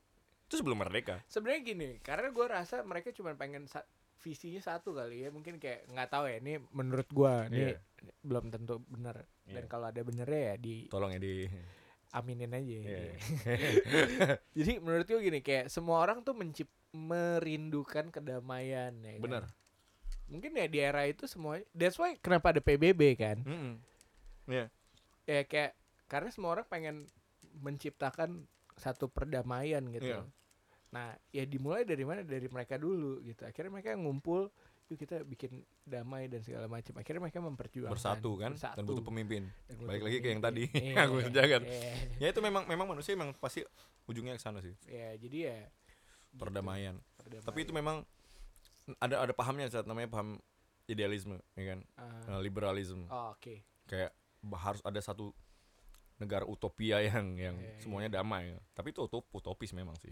[SPEAKER 1] 28 itu sebelum merdeka
[SPEAKER 2] sebenarnya gini karena gue rasa mereka cuma pengen sa- visinya satu kali ya mungkin kayak nggak tahu ya ini menurut gue ini
[SPEAKER 1] Iya.
[SPEAKER 2] belum tentu benar dan
[SPEAKER 1] Iya.
[SPEAKER 2] kalau ada benernya ya di
[SPEAKER 1] tolong ya di
[SPEAKER 2] aminin aja
[SPEAKER 1] Iya.
[SPEAKER 2] jadi menurut gue gini kayak semua orang tuh mencip merindukan kedamaian ya kan?
[SPEAKER 1] benar
[SPEAKER 2] mungkin ya di era itu semua that's why kenapa ada PBB kan
[SPEAKER 1] Mm-mm. Iya.
[SPEAKER 2] ya kayak karena semua orang pengen menciptakan satu perdamaian gitu
[SPEAKER 1] Iya.
[SPEAKER 2] nah ya dimulai dari mana dari mereka dulu gitu akhirnya mereka ngumpul yuk kita bikin damai dan segala macam akhirnya mereka memperjuangkan
[SPEAKER 1] bersatu kan
[SPEAKER 2] bersatu,
[SPEAKER 1] dan butuh pemimpin
[SPEAKER 2] Dan butuh
[SPEAKER 1] balik lagi ke yang tadi,
[SPEAKER 2] pemimpin.
[SPEAKER 1] yang gue
[SPEAKER 2] Iya,
[SPEAKER 1] sejagat.
[SPEAKER 2] iya,
[SPEAKER 1] ya itu memang memang manusia memang pasti ujungnya ke sana sih
[SPEAKER 2] iya, jadi ya gitu,
[SPEAKER 1] perdamaian
[SPEAKER 2] perdamaian.
[SPEAKER 1] tapi itu memang ada ada pahamnya saat namanya paham idealisme ya kan
[SPEAKER 2] Ah,
[SPEAKER 1] Nah, liberalisme
[SPEAKER 2] oh, oke
[SPEAKER 1] kayak bah- harus ada satu negara utopia yang yang
[SPEAKER 2] Iya,
[SPEAKER 1] semuanya damai tapi itu utop- utopis memang sih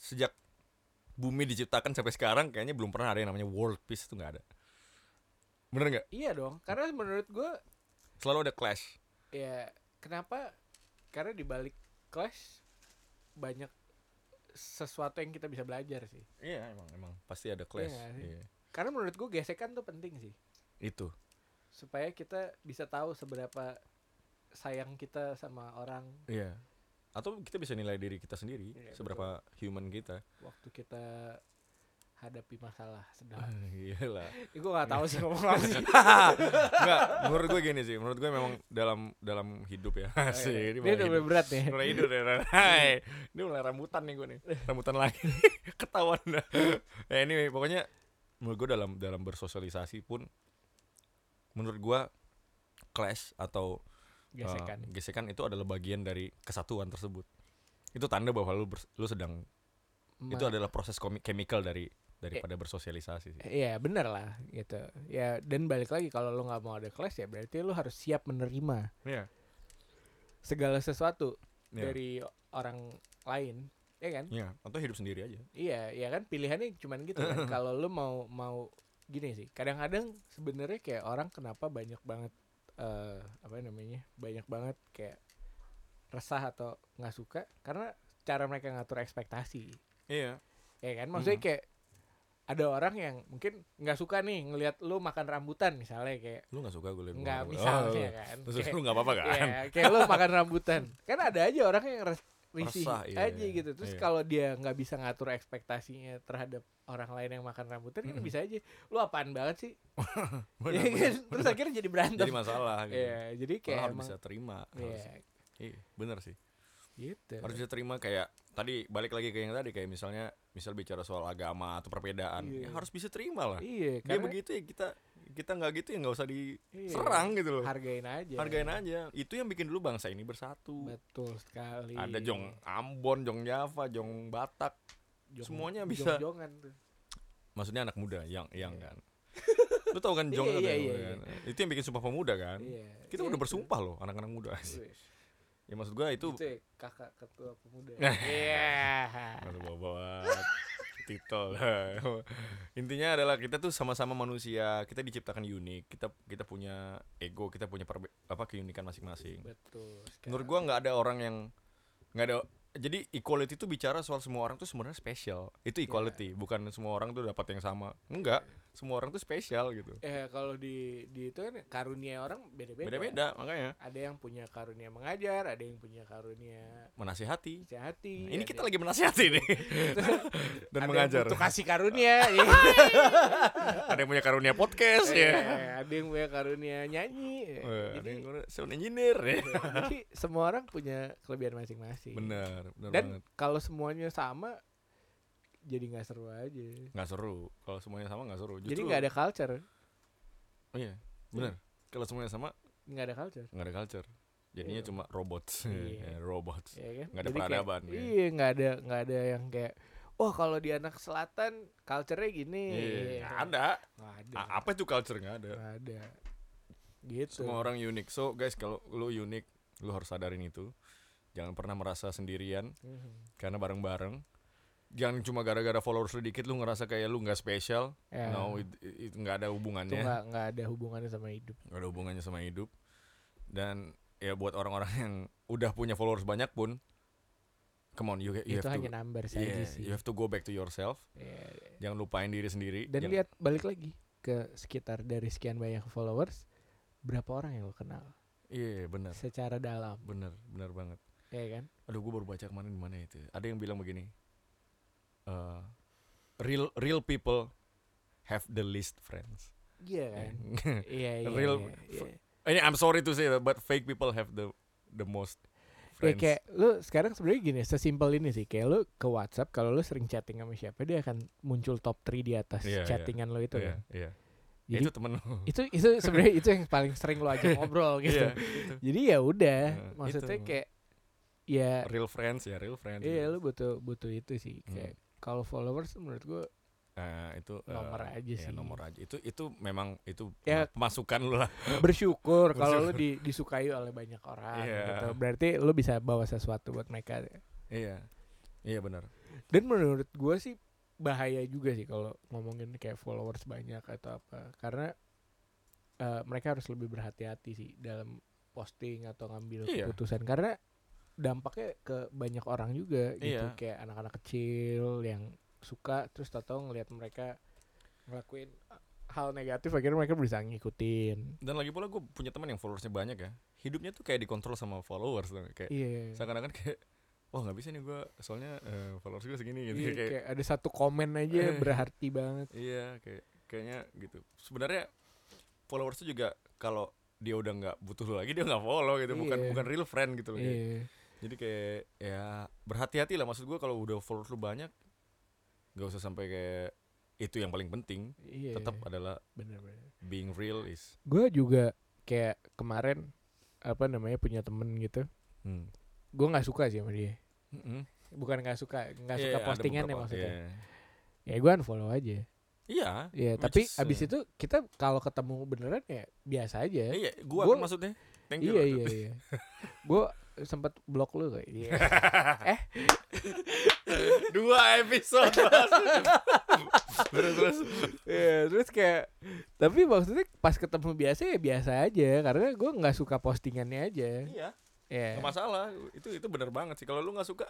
[SPEAKER 1] sejak bumi diciptakan sampai sekarang kayaknya belum pernah ada yang namanya world peace itu nggak ada bener nggak
[SPEAKER 2] iya dong karena menurut gue
[SPEAKER 1] selalu ada clash
[SPEAKER 2] ya kenapa karena di balik clash banyak sesuatu yang kita bisa belajar sih
[SPEAKER 1] iya emang emang pasti ada clash
[SPEAKER 2] nggak sih?
[SPEAKER 1] Iya.
[SPEAKER 2] karena menurut gue gesekan tuh penting sih
[SPEAKER 1] itu
[SPEAKER 2] supaya kita bisa tahu seberapa sayang kita sama orang
[SPEAKER 1] iya atau kita bisa nilai diri kita sendiri
[SPEAKER 2] Iya,
[SPEAKER 1] seberapa human kita
[SPEAKER 2] waktu kita hadapi masalah sedang.
[SPEAKER 1] Ah, Iyalah.
[SPEAKER 2] Gue gak tahu sih ngomong apa sih.
[SPEAKER 1] Enggak, menurut gue gini sih. Menurut gue memang dalam dalam hidup ya. Asik, ini malah
[SPEAKER 2] Ini Oh, iya. udah
[SPEAKER 1] hidup.
[SPEAKER 2] mulai berat nih.
[SPEAKER 1] Mulai hidup deh. Ran. Hai. Ini mulai rambutan nih gue nih. Rambutan lagi. Ketahuan dah. Ya ini pokoknya menurut gue dalam dalam bersosialisasi pun menurut gue clash atau uh,
[SPEAKER 2] Gesekan.
[SPEAKER 1] gesekan itu adalah bagian dari kesatuan tersebut. Itu tanda bahwa lu bers- lu sedang itu
[SPEAKER 2] Ma-
[SPEAKER 1] adalah proses komi- chemical dari daripada
[SPEAKER 2] Eh,
[SPEAKER 1] bersosialisasi sih.
[SPEAKER 2] Iya bener lah gitu ya dan balik lagi kalau lo nggak mau ada kelas ya berarti lo harus siap menerima
[SPEAKER 1] Iya.
[SPEAKER 2] segala sesuatu
[SPEAKER 1] Iya.
[SPEAKER 2] dari orang lain ya kan
[SPEAKER 1] Iya, atau hidup sendiri aja.
[SPEAKER 2] Iya, ya kan pilihannya cuman gitu kan. Kalau lu mau mau gini sih. Kadang-kadang sebenarnya kayak orang kenapa banyak banget eh apa namanya? Banyak banget kayak resah atau nggak suka karena cara mereka ngatur ekspektasi.
[SPEAKER 1] Iya.
[SPEAKER 2] Ya kan? Maksudnya
[SPEAKER 1] Hmm.
[SPEAKER 2] kayak ada orang yang mungkin nggak suka nih ngelihat lu makan rambutan misalnya kayak
[SPEAKER 1] Lu gak suka gue liat
[SPEAKER 2] nggak
[SPEAKER 1] muka lu.
[SPEAKER 2] misalnya
[SPEAKER 1] Oh,
[SPEAKER 2] kan.
[SPEAKER 1] Terus
[SPEAKER 2] Kayak-
[SPEAKER 1] lu gak apa-apa kan?
[SPEAKER 2] Iya, kayak lo makan rambutan. Kan ada aja orang yang res risih
[SPEAKER 1] Resah, iya,
[SPEAKER 2] aja
[SPEAKER 1] iya,
[SPEAKER 2] gitu. Terus
[SPEAKER 1] iya.
[SPEAKER 2] kalau dia nggak bisa ngatur ekspektasinya terhadap orang lain yang makan rambutan, kan bisa aja lu apaan banget sih?
[SPEAKER 1] Bener,
[SPEAKER 2] Iya kan?
[SPEAKER 1] bener.
[SPEAKER 2] Terus akhirnya jadi berantem.
[SPEAKER 1] Jadi masalah gitu.
[SPEAKER 2] Iya, jadi kayak
[SPEAKER 1] Orang harus
[SPEAKER 2] emang
[SPEAKER 1] bisa terima.
[SPEAKER 2] iya,
[SPEAKER 1] Harus. Iya, bener sih.
[SPEAKER 2] gitu.
[SPEAKER 1] Harus bisa terima kayak tadi balik lagi ke yang tadi kayak misalnya misal bicara soal agama atau perbedaan, ya
[SPEAKER 2] Iya.
[SPEAKER 1] harus bisa terima lah.
[SPEAKER 2] Iya,
[SPEAKER 1] Dia
[SPEAKER 2] karena
[SPEAKER 1] begitu ya kita kita nggak gitu ya nggak usah
[SPEAKER 2] Iya.
[SPEAKER 1] diserang gitu loh.
[SPEAKER 2] hargain aja.
[SPEAKER 1] Hargain aja. Itu yang bikin dulu bangsa ini bersatu.
[SPEAKER 2] Betul sekali.
[SPEAKER 1] Ada Jong Ambon, Jong Java, Jong Batak.
[SPEAKER 2] Jong-
[SPEAKER 1] semuanya bisa.
[SPEAKER 2] jong-jongan tuh.
[SPEAKER 1] Maksudnya anak muda, yang yang
[SPEAKER 2] Iya.
[SPEAKER 1] kan. Lu tau kan Jong
[SPEAKER 2] Iya,
[SPEAKER 1] katanya
[SPEAKER 2] iya,
[SPEAKER 1] lu
[SPEAKER 2] iya,
[SPEAKER 1] kan? Itu yang bikin Sumpah Pemuda kan?
[SPEAKER 2] Iya.
[SPEAKER 1] Kita
[SPEAKER 2] iya
[SPEAKER 1] udah
[SPEAKER 2] itu.
[SPEAKER 1] bersumpah loh anak-anak muda.
[SPEAKER 2] Wih,
[SPEAKER 1] ya maksud gua
[SPEAKER 2] Itu
[SPEAKER 1] itu
[SPEAKER 2] ya, kakak ketua pemuda. Iya.
[SPEAKER 1] Nggak usah bawa-bawa titel. Intinya adalah kita tuh sama-sama manusia, kita diciptakan unik, kita kita punya ego, kita punya perbe- apa keunikan
[SPEAKER 2] Iya,
[SPEAKER 1] masing-masing.
[SPEAKER 2] Betul. sekali.
[SPEAKER 1] Menurut gua nggak ada orang yang nggak ada jadi equality itu bicara soal semua orang tuh sebenarnya spesial. Itu
[SPEAKER 2] Iya.
[SPEAKER 1] equality, bukan semua orang tuh dapat yang sama. Enggak, semua orang tuh spesial gitu.
[SPEAKER 2] eh kalau di di itu kan karunia orang beda-beda.
[SPEAKER 1] Beda-beda makanya
[SPEAKER 2] Ada yang punya karunia mengajar, ada yang punya karunia
[SPEAKER 1] menasihati.
[SPEAKER 2] baca hati.
[SPEAKER 1] Nah, ini
[SPEAKER 2] iya.
[SPEAKER 1] kita lagi menasihati nih dan mengajar.
[SPEAKER 2] Untuk kasih karunia. iya.
[SPEAKER 1] Ada yang punya karunia podcast
[SPEAKER 2] Iya,
[SPEAKER 1] ya.
[SPEAKER 2] ada yang punya karunia nyanyi. iya.
[SPEAKER 1] Eh, Ada
[SPEAKER 2] jadi,
[SPEAKER 1] yang sound engineer ya.
[SPEAKER 2] iya, jadi semua orang punya kelebihan masing-masing.
[SPEAKER 1] Bener, bener
[SPEAKER 2] Dan
[SPEAKER 1] banget.
[SPEAKER 2] kalau semuanya sama jadi nggak seru aja.
[SPEAKER 1] Nggak seru. Kalau semuanya sama nggak seru.
[SPEAKER 2] jadi nggak ada culture,
[SPEAKER 1] Oh iya, bener. Kalau semuanya sama
[SPEAKER 2] nggak ada culture.
[SPEAKER 1] nggak ada culture. Jadinya
[SPEAKER 2] Iya.
[SPEAKER 1] cuma robots,
[SPEAKER 2] Iya.
[SPEAKER 1] robots.
[SPEAKER 2] Iya kan?
[SPEAKER 1] Nggak ada
[SPEAKER 2] Jadi kayak-
[SPEAKER 1] peradaban, ya.
[SPEAKER 2] Iya, nggak ada nggak ada yang kayak Wah kalau di anak selatan culture-nya gini.
[SPEAKER 1] Iya,
[SPEAKER 2] Iya,
[SPEAKER 1] nggak ada.
[SPEAKER 2] Nggak ada.
[SPEAKER 1] A- apa itu culture nggak ada?
[SPEAKER 2] Nggak ada. Gitu.
[SPEAKER 1] Semua orang unik. So guys, kalau lu unik, lu harus sadarin itu. Jangan pernah merasa sendirian.
[SPEAKER 2] Mhm.
[SPEAKER 1] karena bareng-bareng jangan cuma gara-gara followers lu dikit lu ngerasa kayak lu nggak spesial
[SPEAKER 2] Ya,
[SPEAKER 1] no it- ya. it nggak ada
[SPEAKER 2] itu
[SPEAKER 1] hubungannya
[SPEAKER 2] nggak nggak ada hubungannya sama hidup.
[SPEAKER 1] nggak ada hubungannya sama hidup dan ya buat orang-orang yang udah punya followers banyak pun come on you, you
[SPEAKER 2] itu
[SPEAKER 1] have
[SPEAKER 2] hanya
[SPEAKER 1] to
[SPEAKER 2] number saja
[SPEAKER 1] yeah,
[SPEAKER 2] sih.
[SPEAKER 1] you have to go back to yourself
[SPEAKER 2] Iya.
[SPEAKER 1] jangan lupain diri sendiri jangan-
[SPEAKER 2] Dan lihat balik lagi ke sekitar dari sekian banyak followers, berapa orang yang lo kenal
[SPEAKER 1] iya benar
[SPEAKER 2] secara dalam,
[SPEAKER 1] benar benar banget
[SPEAKER 2] ya kan?
[SPEAKER 1] aduh gue baru baca kemarin di mana itu ada yang bilang begini eh, real real people have the least friends
[SPEAKER 2] Iya kan? Iya iya.
[SPEAKER 1] Real
[SPEAKER 2] iya, iya.
[SPEAKER 1] Ini I'm sorry to say that, but fake people have the the most
[SPEAKER 2] Ya
[SPEAKER 1] friends.
[SPEAKER 2] kayak lu sekarang sebenarnya gini, sesimpel ini sih. Kayak lu ke WhatsApp kalau lu sering chatting sama siapa dia akan muncul top 3 di atas
[SPEAKER 1] Iya, iya.
[SPEAKER 2] chattingan lo itu
[SPEAKER 1] Iya,
[SPEAKER 2] kan.
[SPEAKER 1] iya.
[SPEAKER 2] Jadi
[SPEAKER 1] itu temen lu.
[SPEAKER 2] itu itu sebenarnya itu yang paling sering lo ajak ngobrol gitu.
[SPEAKER 1] Iya, itu.
[SPEAKER 2] Jadi ya udah,
[SPEAKER 1] Nah,
[SPEAKER 2] maksudnya
[SPEAKER 1] itu.
[SPEAKER 2] kayak ya
[SPEAKER 1] Real friends ya, real friends.
[SPEAKER 2] iya lu butuh butuh itu sih
[SPEAKER 1] Hmm.
[SPEAKER 2] kayak kalau followers tuh menurut gua
[SPEAKER 1] Nah, itu eh,
[SPEAKER 2] Nomor aja
[SPEAKER 1] iya,
[SPEAKER 2] sih.
[SPEAKER 1] nomor aja. Itu itu memang itu
[SPEAKER 2] Ya.
[SPEAKER 1] masukan lu lah.
[SPEAKER 2] bersyukur kalau lu di- disukai oleh banyak orang
[SPEAKER 1] Iya.
[SPEAKER 2] gitu. Berarti lu bisa bawa sesuatu buat mereka.
[SPEAKER 1] Iya. Iya benar.
[SPEAKER 2] Dan menurut gua sih bahaya juga sih kalau ngomongin kayak followers banyak atau apa. Karena eh, mereka harus lebih berhati-hati sih dalam posting atau ngambil
[SPEAKER 1] Iya.
[SPEAKER 2] keputusan karena dampaknya ke banyak orang juga
[SPEAKER 1] Iya.
[SPEAKER 2] gitu kayak anak-anak kecil yang suka terus tau ngelihat mereka ngelakuin hal negatif akhirnya mereka bisa ngikutin.
[SPEAKER 1] Dan lagi pula gue punya teman yang followersnya banyak ya. Hidupnya tuh kayak dikontrol sama followers tuh. kayak
[SPEAKER 2] Iya.
[SPEAKER 1] seakan-akan kayak wah nggak bisa nih gue soalnya eh, followers gue segini gitu
[SPEAKER 2] Iya,
[SPEAKER 1] kayak
[SPEAKER 2] kayak ada satu komen aja
[SPEAKER 1] Eh.
[SPEAKER 2] berarti banget.
[SPEAKER 1] Iya, kayak kayaknya gitu. Sebenarnya followers tuh juga kalau dia udah nggak butuh lu lagi dia nggak follow gitu, bukan
[SPEAKER 2] Iya.
[SPEAKER 1] bukan real friend gitu loh. kayak.
[SPEAKER 2] Iya.
[SPEAKER 1] Jadi kayak ya berhati-hati lah maksud gua kalau udah followers lu banyak nggak usah sampai kayak itu yang paling penting.
[SPEAKER 2] Iya.
[SPEAKER 1] Tetap adalah
[SPEAKER 2] bener-bener.
[SPEAKER 1] being real is.
[SPEAKER 2] gue juga kayak kemarin apa namanya punya temen gitu
[SPEAKER 1] Hmm.
[SPEAKER 2] gue nggak suka sih sama dia
[SPEAKER 1] Mm-mm.
[SPEAKER 2] bukan nggak suka nggak
[SPEAKER 1] Iya,
[SPEAKER 2] suka
[SPEAKER 1] ada
[SPEAKER 2] postingannya
[SPEAKER 1] beberapa,
[SPEAKER 2] maksudnya
[SPEAKER 1] iya.
[SPEAKER 2] ya gue unfollow aja
[SPEAKER 1] Iya.
[SPEAKER 2] ya
[SPEAKER 1] Which
[SPEAKER 2] tapi
[SPEAKER 1] is,
[SPEAKER 2] abis
[SPEAKER 1] eh,
[SPEAKER 2] itu kita kalau ketemu beneran ya biasa aja
[SPEAKER 1] Iya, gitu. gua,
[SPEAKER 2] Gua-
[SPEAKER 1] kan maksudnya. Thank you.
[SPEAKER 2] iya
[SPEAKER 1] maksudnya.
[SPEAKER 2] iya iya gue sempet blok lu kayak iya.
[SPEAKER 1] Dua episode. Mas. terus terus.
[SPEAKER 2] Iya, terus kayak tapi maksudnya pas ketemu biasa ya biasa aja karena gue nggak suka postingannya aja
[SPEAKER 1] Iya.
[SPEAKER 2] ya
[SPEAKER 1] Nggak masalah, itu itu benar banget sih. Kalau lu nggak suka,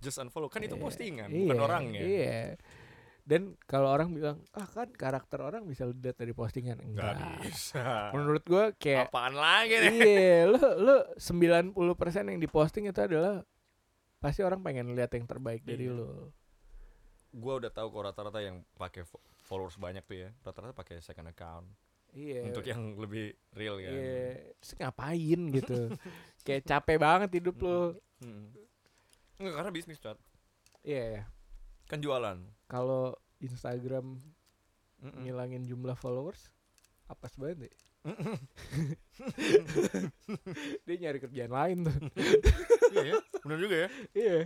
[SPEAKER 1] just unfollow. Kan itu
[SPEAKER 2] Iya,
[SPEAKER 1] postingan,
[SPEAKER 2] iya,
[SPEAKER 1] bukan orangnya.
[SPEAKER 2] Iya. Dan kalau orang bilang, ah kan karakter orang bisa lu lihat dari postingan.
[SPEAKER 1] Nggak
[SPEAKER 2] Enggak.
[SPEAKER 1] bisa.
[SPEAKER 2] Menurut gua kayak
[SPEAKER 1] Apaan lagi nih?
[SPEAKER 2] iya, lu lu 90% yang diposting itu adalah pasti orang pengen lihat yang terbaik dari
[SPEAKER 1] Iya.
[SPEAKER 2] lu.
[SPEAKER 1] Gua udah tahu kok rata-rata yang pakai fo- followers banyak tuh ya. Rata-rata pakai second account
[SPEAKER 2] Iya.
[SPEAKER 1] untuk yang lebih real kan.
[SPEAKER 2] Iya. Terus ngapain gitu. kayak capek banget hidup lu.
[SPEAKER 1] Mm. Nggak, karena bisnis cat
[SPEAKER 2] Iya, iya.
[SPEAKER 1] kan jualan.
[SPEAKER 2] Kalau Instagram
[SPEAKER 1] Mm-mm.
[SPEAKER 2] ngilangin jumlah followers apes banget deh. Dia nyari kerjaan lain tuh.
[SPEAKER 1] Iya ya, benar juga ya.
[SPEAKER 2] Iya.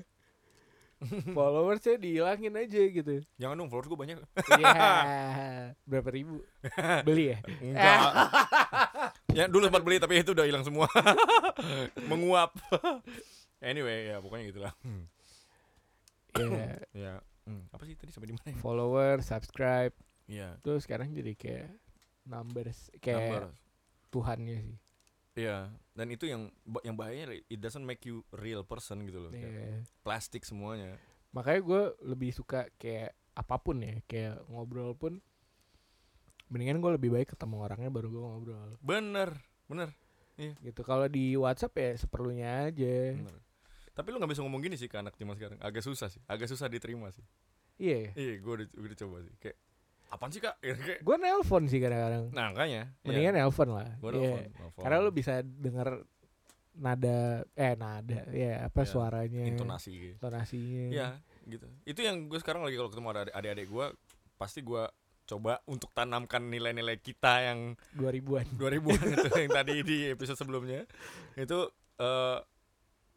[SPEAKER 2] Followersnya dihilangin aja gitu.
[SPEAKER 1] Jangan dong followers gue banyak.
[SPEAKER 2] Iya. Berapa ribu? Beli ya?
[SPEAKER 1] Enggak. ya dulu sempat beli tapi itu udah hilang semua. Menguap. anyway, ya pokoknya gitulah.
[SPEAKER 2] Iya.
[SPEAKER 1] Ya. Hmm. Apa sih tadi sampai di mana? ya?
[SPEAKER 2] Follower, subscribe,
[SPEAKER 1] Iya.
[SPEAKER 2] terus sekarang jadi kayak numbers kayak
[SPEAKER 1] Number.
[SPEAKER 2] Tuhannya sih.
[SPEAKER 1] Iya. Dan itu yang ba- yang bahayanya it doesn't make you real person gitu loh. Kayak
[SPEAKER 2] Iya.
[SPEAKER 1] Plastik semuanya.
[SPEAKER 2] Makanya gue lebih suka kayak apapun ya, kayak ngobrol pun mendingan gue lebih baik ketemu orangnya baru gue ngobrol
[SPEAKER 1] Bener, bener,
[SPEAKER 2] gitu kalau di WhatsApp ya seperlunya aja
[SPEAKER 1] bener. Tapi lu nggak bisa ngomong gini sih ke anak zaman sekarang. Agak susah sih. Agak susah diterima sih.
[SPEAKER 2] iya
[SPEAKER 1] Iya, gue udah, gua udah coba sih. Kayak apaan sih kak? Gitu, Kayak,
[SPEAKER 2] gue nelpon sih kadang-kadang
[SPEAKER 1] nah, kayaknya.
[SPEAKER 2] mendingan nelpon lah
[SPEAKER 1] Gue
[SPEAKER 2] Iya.
[SPEAKER 1] nelfon, nelfon.
[SPEAKER 2] Karena lu bisa denger nada eh nada ya apa
[SPEAKER 1] Ya,
[SPEAKER 2] suaranya
[SPEAKER 1] intonasi gitu.
[SPEAKER 2] intonasinya.
[SPEAKER 1] Iya,
[SPEAKER 2] Hmm.
[SPEAKER 1] gitu. Itu yang gue sekarang lagi kalau ketemu ada adik-adik gue, pasti gue coba untuk tanamkan nilai-nilai kita yang
[SPEAKER 2] 2000-an.
[SPEAKER 1] 2000-an itu yang tadi di episode sebelumnya itu eh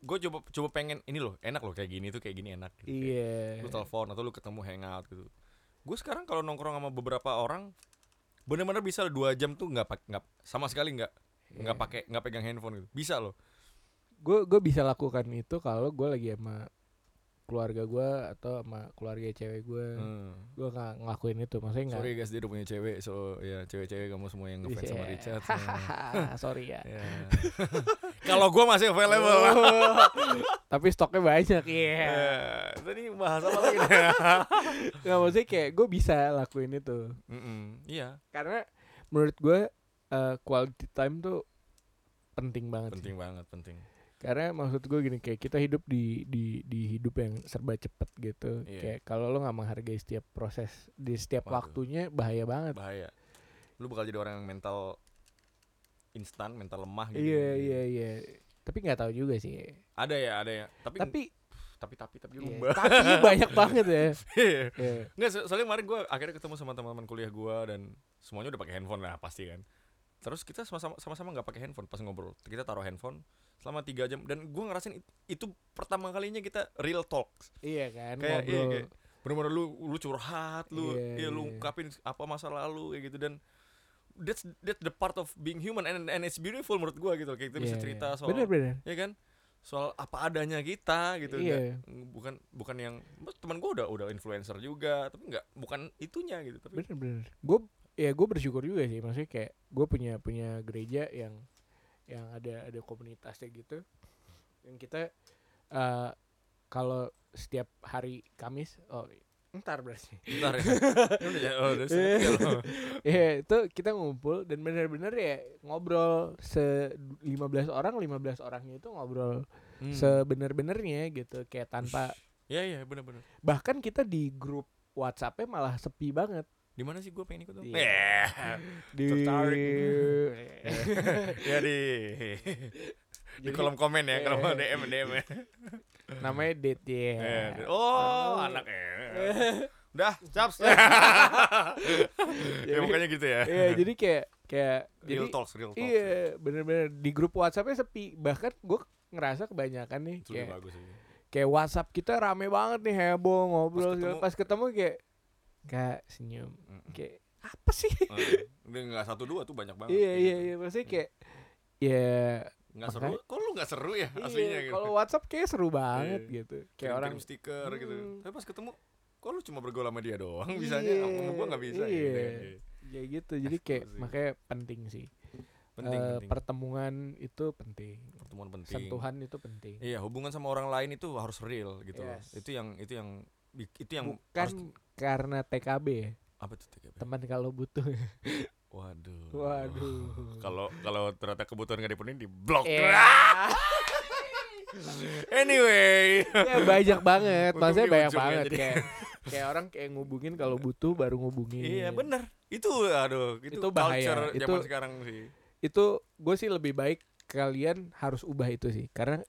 [SPEAKER 1] gue coba coba pengen ini loh enak loh kayak gini tuh kayak gini enak gitu. Kayak
[SPEAKER 2] Iya.
[SPEAKER 1] lu telepon atau lu ketemu hangout gitu gue sekarang kalau nongkrong sama beberapa orang bener-bener bisa loh dua jam tuh nggak pak nggak sama sekali nggak
[SPEAKER 2] Iya.
[SPEAKER 1] nggak pakai nggak pegang handphone gitu bisa loh
[SPEAKER 2] Gue gue bisa lakukan itu kalau gue lagi sama keluarga gue atau sama keluarga cewek gue.
[SPEAKER 1] Hmm.
[SPEAKER 2] Gue nggak ngelakuin itu, maksudnya nggak.
[SPEAKER 1] sorry guys dia udah punya cewek so ya cewek-cewek kamu semua yang
[SPEAKER 2] Iya.
[SPEAKER 1] ngefans sama Richard ya.
[SPEAKER 2] Hahaha, sorry ya.
[SPEAKER 1] Ya. kalau gue masih available
[SPEAKER 2] Oh, Tapi stoknya banyak, iya.
[SPEAKER 1] Ya, tadi bahas apa lagi nih?
[SPEAKER 2] Nggak maksudnya kayak gue bisa lakuin itu.
[SPEAKER 1] Mm-mm, Iya,
[SPEAKER 2] Karena menurut gue eh, quality time tuh penting banget. sih.
[SPEAKER 1] penting banget, penting.
[SPEAKER 2] Karena maksud gue gini kayak kita hidup di di di hidup yang serba cepet gitu.
[SPEAKER 1] Iya.
[SPEAKER 2] Kayak kalau lo nggak menghargai setiap proses di setiap
[SPEAKER 1] Waduh.
[SPEAKER 2] waktunya bahaya banget.
[SPEAKER 1] Bahaya. Lu bakal jadi orang yang mental instan, mental lemah gitu.
[SPEAKER 2] Iya iya iya. Tapi nggak tahu juga sih.
[SPEAKER 1] Ada ya, ada ya. Tapi
[SPEAKER 2] Tapi
[SPEAKER 1] tapi tapi tapi
[SPEAKER 2] iya,
[SPEAKER 1] lumba.
[SPEAKER 2] tapi banyak banget ya. Iya.
[SPEAKER 1] Enggak, so- soalnya kemarin gua akhirnya ketemu sama teman-teman kuliah gua dan semuanya udah pakai handphone lah pasti kan. Terus kita sama-sama sama-sama nggak pakai handphone pas ngobrol. Kita taruh handphone selama tiga jam dan gua ngerasain it- itu pertama kalinya kita real talks.
[SPEAKER 2] Iya kan
[SPEAKER 1] kayak iya,
[SPEAKER 2] ngobrol.
[SPEAKER 1] kayak bener-bener lu lu curhat lu
[SPEAKER 2] Iya,
[SPEAKER 1] iya, lu
[SPEAKER 2] iya.
[SPEAKER 1] ungkapin apa masa lalu kayak gitu dan that's that's the part of being human and and it's beautiful menurut gua gitu kayak kita bisa
[SPEAKER 2] Iya,
[SPEAKER 1] cerita
[SPEAKER 2] iya.
[SPEAKER 1] soal
[SPEAKER 2] Bener bener.
[SPEAKER 1] ya kan soal apa adanya kita gitu
[SPEAKER 2] Iya.
[SPEAKER 1] nggak- bukan bukan yang teman gua udah udah influencer juga tapi nggak bukan itunya gitu tapi
[SPEAKER 2] Bener bener. Gue ya gue bersyukur juga sih maksudnya kayak gue punya punya gereja yang yang ada ada komunitasnya gitu. Dan kita eh kalau setiap hari Kamis oh ntar berarti.
[SPEAKER 1] bentar ya Ini udah ya, oh, udah
[SPEAKER 2] Iya.
[SPEAKER 1] seret ya lo.
[SPEAKER 2] Iya, itu kita ngumpul dan bener-bener ya ngobrol se 15 orang, 15 orangnya itu ngobrol
[SPEAKER 1] Hmm.
[SPEAKER 2] sebener-benernya gitu kayak tanpa
[SPEAKER 1] Iya iya benar-benar.
[SPEAKER 2] bahkan kita di grup WhatsApp-nya malah sepi banget
[SPEAKER 1] Di mana sih gue pengen ikut tuh?
[SPEAKER 2] Iya.
[SPEAKER 1] Eh,
[SPEAKER 2] di
[SPEAKER 1] Tertarik. ya di di
[SPEAKER 2] Jadi,
[SPEAKER 1] kolom komen ya kalau mau
[SPEAKER 2] Eh.
[SPEAKER 1] DM DM ya.
[SPEAKER 2] namanya date ya
[SPEAKER 1] Eh, Oh,
[SPEAKER 2] Oh.
[SPEAKER 1] anak eh. Udah, caps. ya
[SPEAKER 2] Jadi-
[SPEAKER 1] mukanya gitu ya.
[SPEAKER 2] Iya, jadi kayak kayak jadi
[SPEAKER 1] Real talks, real talks. ya.
[SPEAKER 2] iya bener-bener di grup WhatsApp-nya sepi bahkan gue ngerasa kebanyakan nih
[SPEAKER 1] Itu udah
[SPEAKER 2] kayak
[SPEAKER 1] bagus sih.
[SPEAKER 2] kayak WhatsApp kita rame banget nih heboh
[SPEAKER 1] Pas
[SPEAKER 2] ngobrol segala-
[SPEAKER 1] ketemu-
[SPEAKER 2] pas ketemu kayak kak senyum
[SPEAKER 1] Mm-mm.
[SPEAKER 2] kayak apa sih
[SPEAKER 1] Eh, Udah nggak satu dua tuh banyak banget.
[SPEAKER 2] iya
[SPEAKER 1] kayak
[SPEAKER 2] iya
[SPEAKER 1] gitu.
[SPEAKER 2] iya maksudnya kayak ya
[SPEAKER 1] Nggak seru.
[SPEAKER 2] Makanya-
[SPEAKER 1] Kok lu nggak seru ya aslinya
[SPEAKER 2] iya,
[SPEAKER 1] gitu.
[SPEAKER 2] kalau WhatsApp kayak seru banget
[SPEAKER 1] Iya.
[SPEAKER 2] gitu kayak
[SPEAKER 1] Kirim-kirim
[SPEAKER 2] orang
[SPEAKER 1] stiker gitu.
[SPEAKER 2] Hmm.
[SPEAKER 1] Tapi pas ketemu kok lu cuma bergaul sama dia doang bisanya
[SPEAKER 2] Iya,
[SPEAKER 1] sama gua nggak bisa gitu.
[SPEAKER 2] iya.
[SPEAKER 1] ya.
[SPEAKER 2] kayak gitu jadi kayak
[SPEAKER 1] Asik.
[SPEAKER 2] makanya penting sih
[SPEAKER 1] Penting,
[SPEAKER 2] Eh,
[SPEAKER 1] penting.
[SPEAKER 2] pertemuan itu penting
[SPEAKER 1] Pertemuan penting.
[SPEAKER 2] sentuhan itu penting
[SPEAKER 1] Iya, hubungan sama orang lain itu harus real gitu. loh.
[SPEAKER 2] Yes.
[SPEAKER 1] Itu yang itu yang itu yang
[SPEAKER 2] bukan
[SPEAKER 1] harus-
[SPEAKER 2] karena TKB ya
[SPEAKER 1] apa tuh TKB?
[SPEAKER 2] teman kalau butuh
[SPEAKER 1] Waduh.
[SPEAKER 2] waduh
[SPEAKER 1] Oh. Kalau kalau ternyata kebutuhan gak dipenuhi Ah, di blok.
[SPEAKER 2] Ya,
[SPEAKER 1] Anyway.
[SPEAKER 2] ya banyak banget,
[SPEAKER 1] Untung
[SPEAKER 2] maksudnya
[SPEAKER 1] di
[SPEAKER 2] banyak
[SPEAKER 1] ujung ya,
[SPEAKER 2] banget
[SPEAKER 1] jadi.
[SPEAKER 2] kayak kayak orang kayak ngubungin kalau butuh baru ngubungin.
[SPEAKER 1] Iya bener Itu aduh itu,
[SPEAKER 2] Itu bahaya.
[SPEAKER 1] culture zaman
[SPEAKER 2] Itu-
[SPEAKER 1] sekarang sih.
[SPEAKER 2] Itu gue sih lebih baik kalian harus ubah itu sih, karena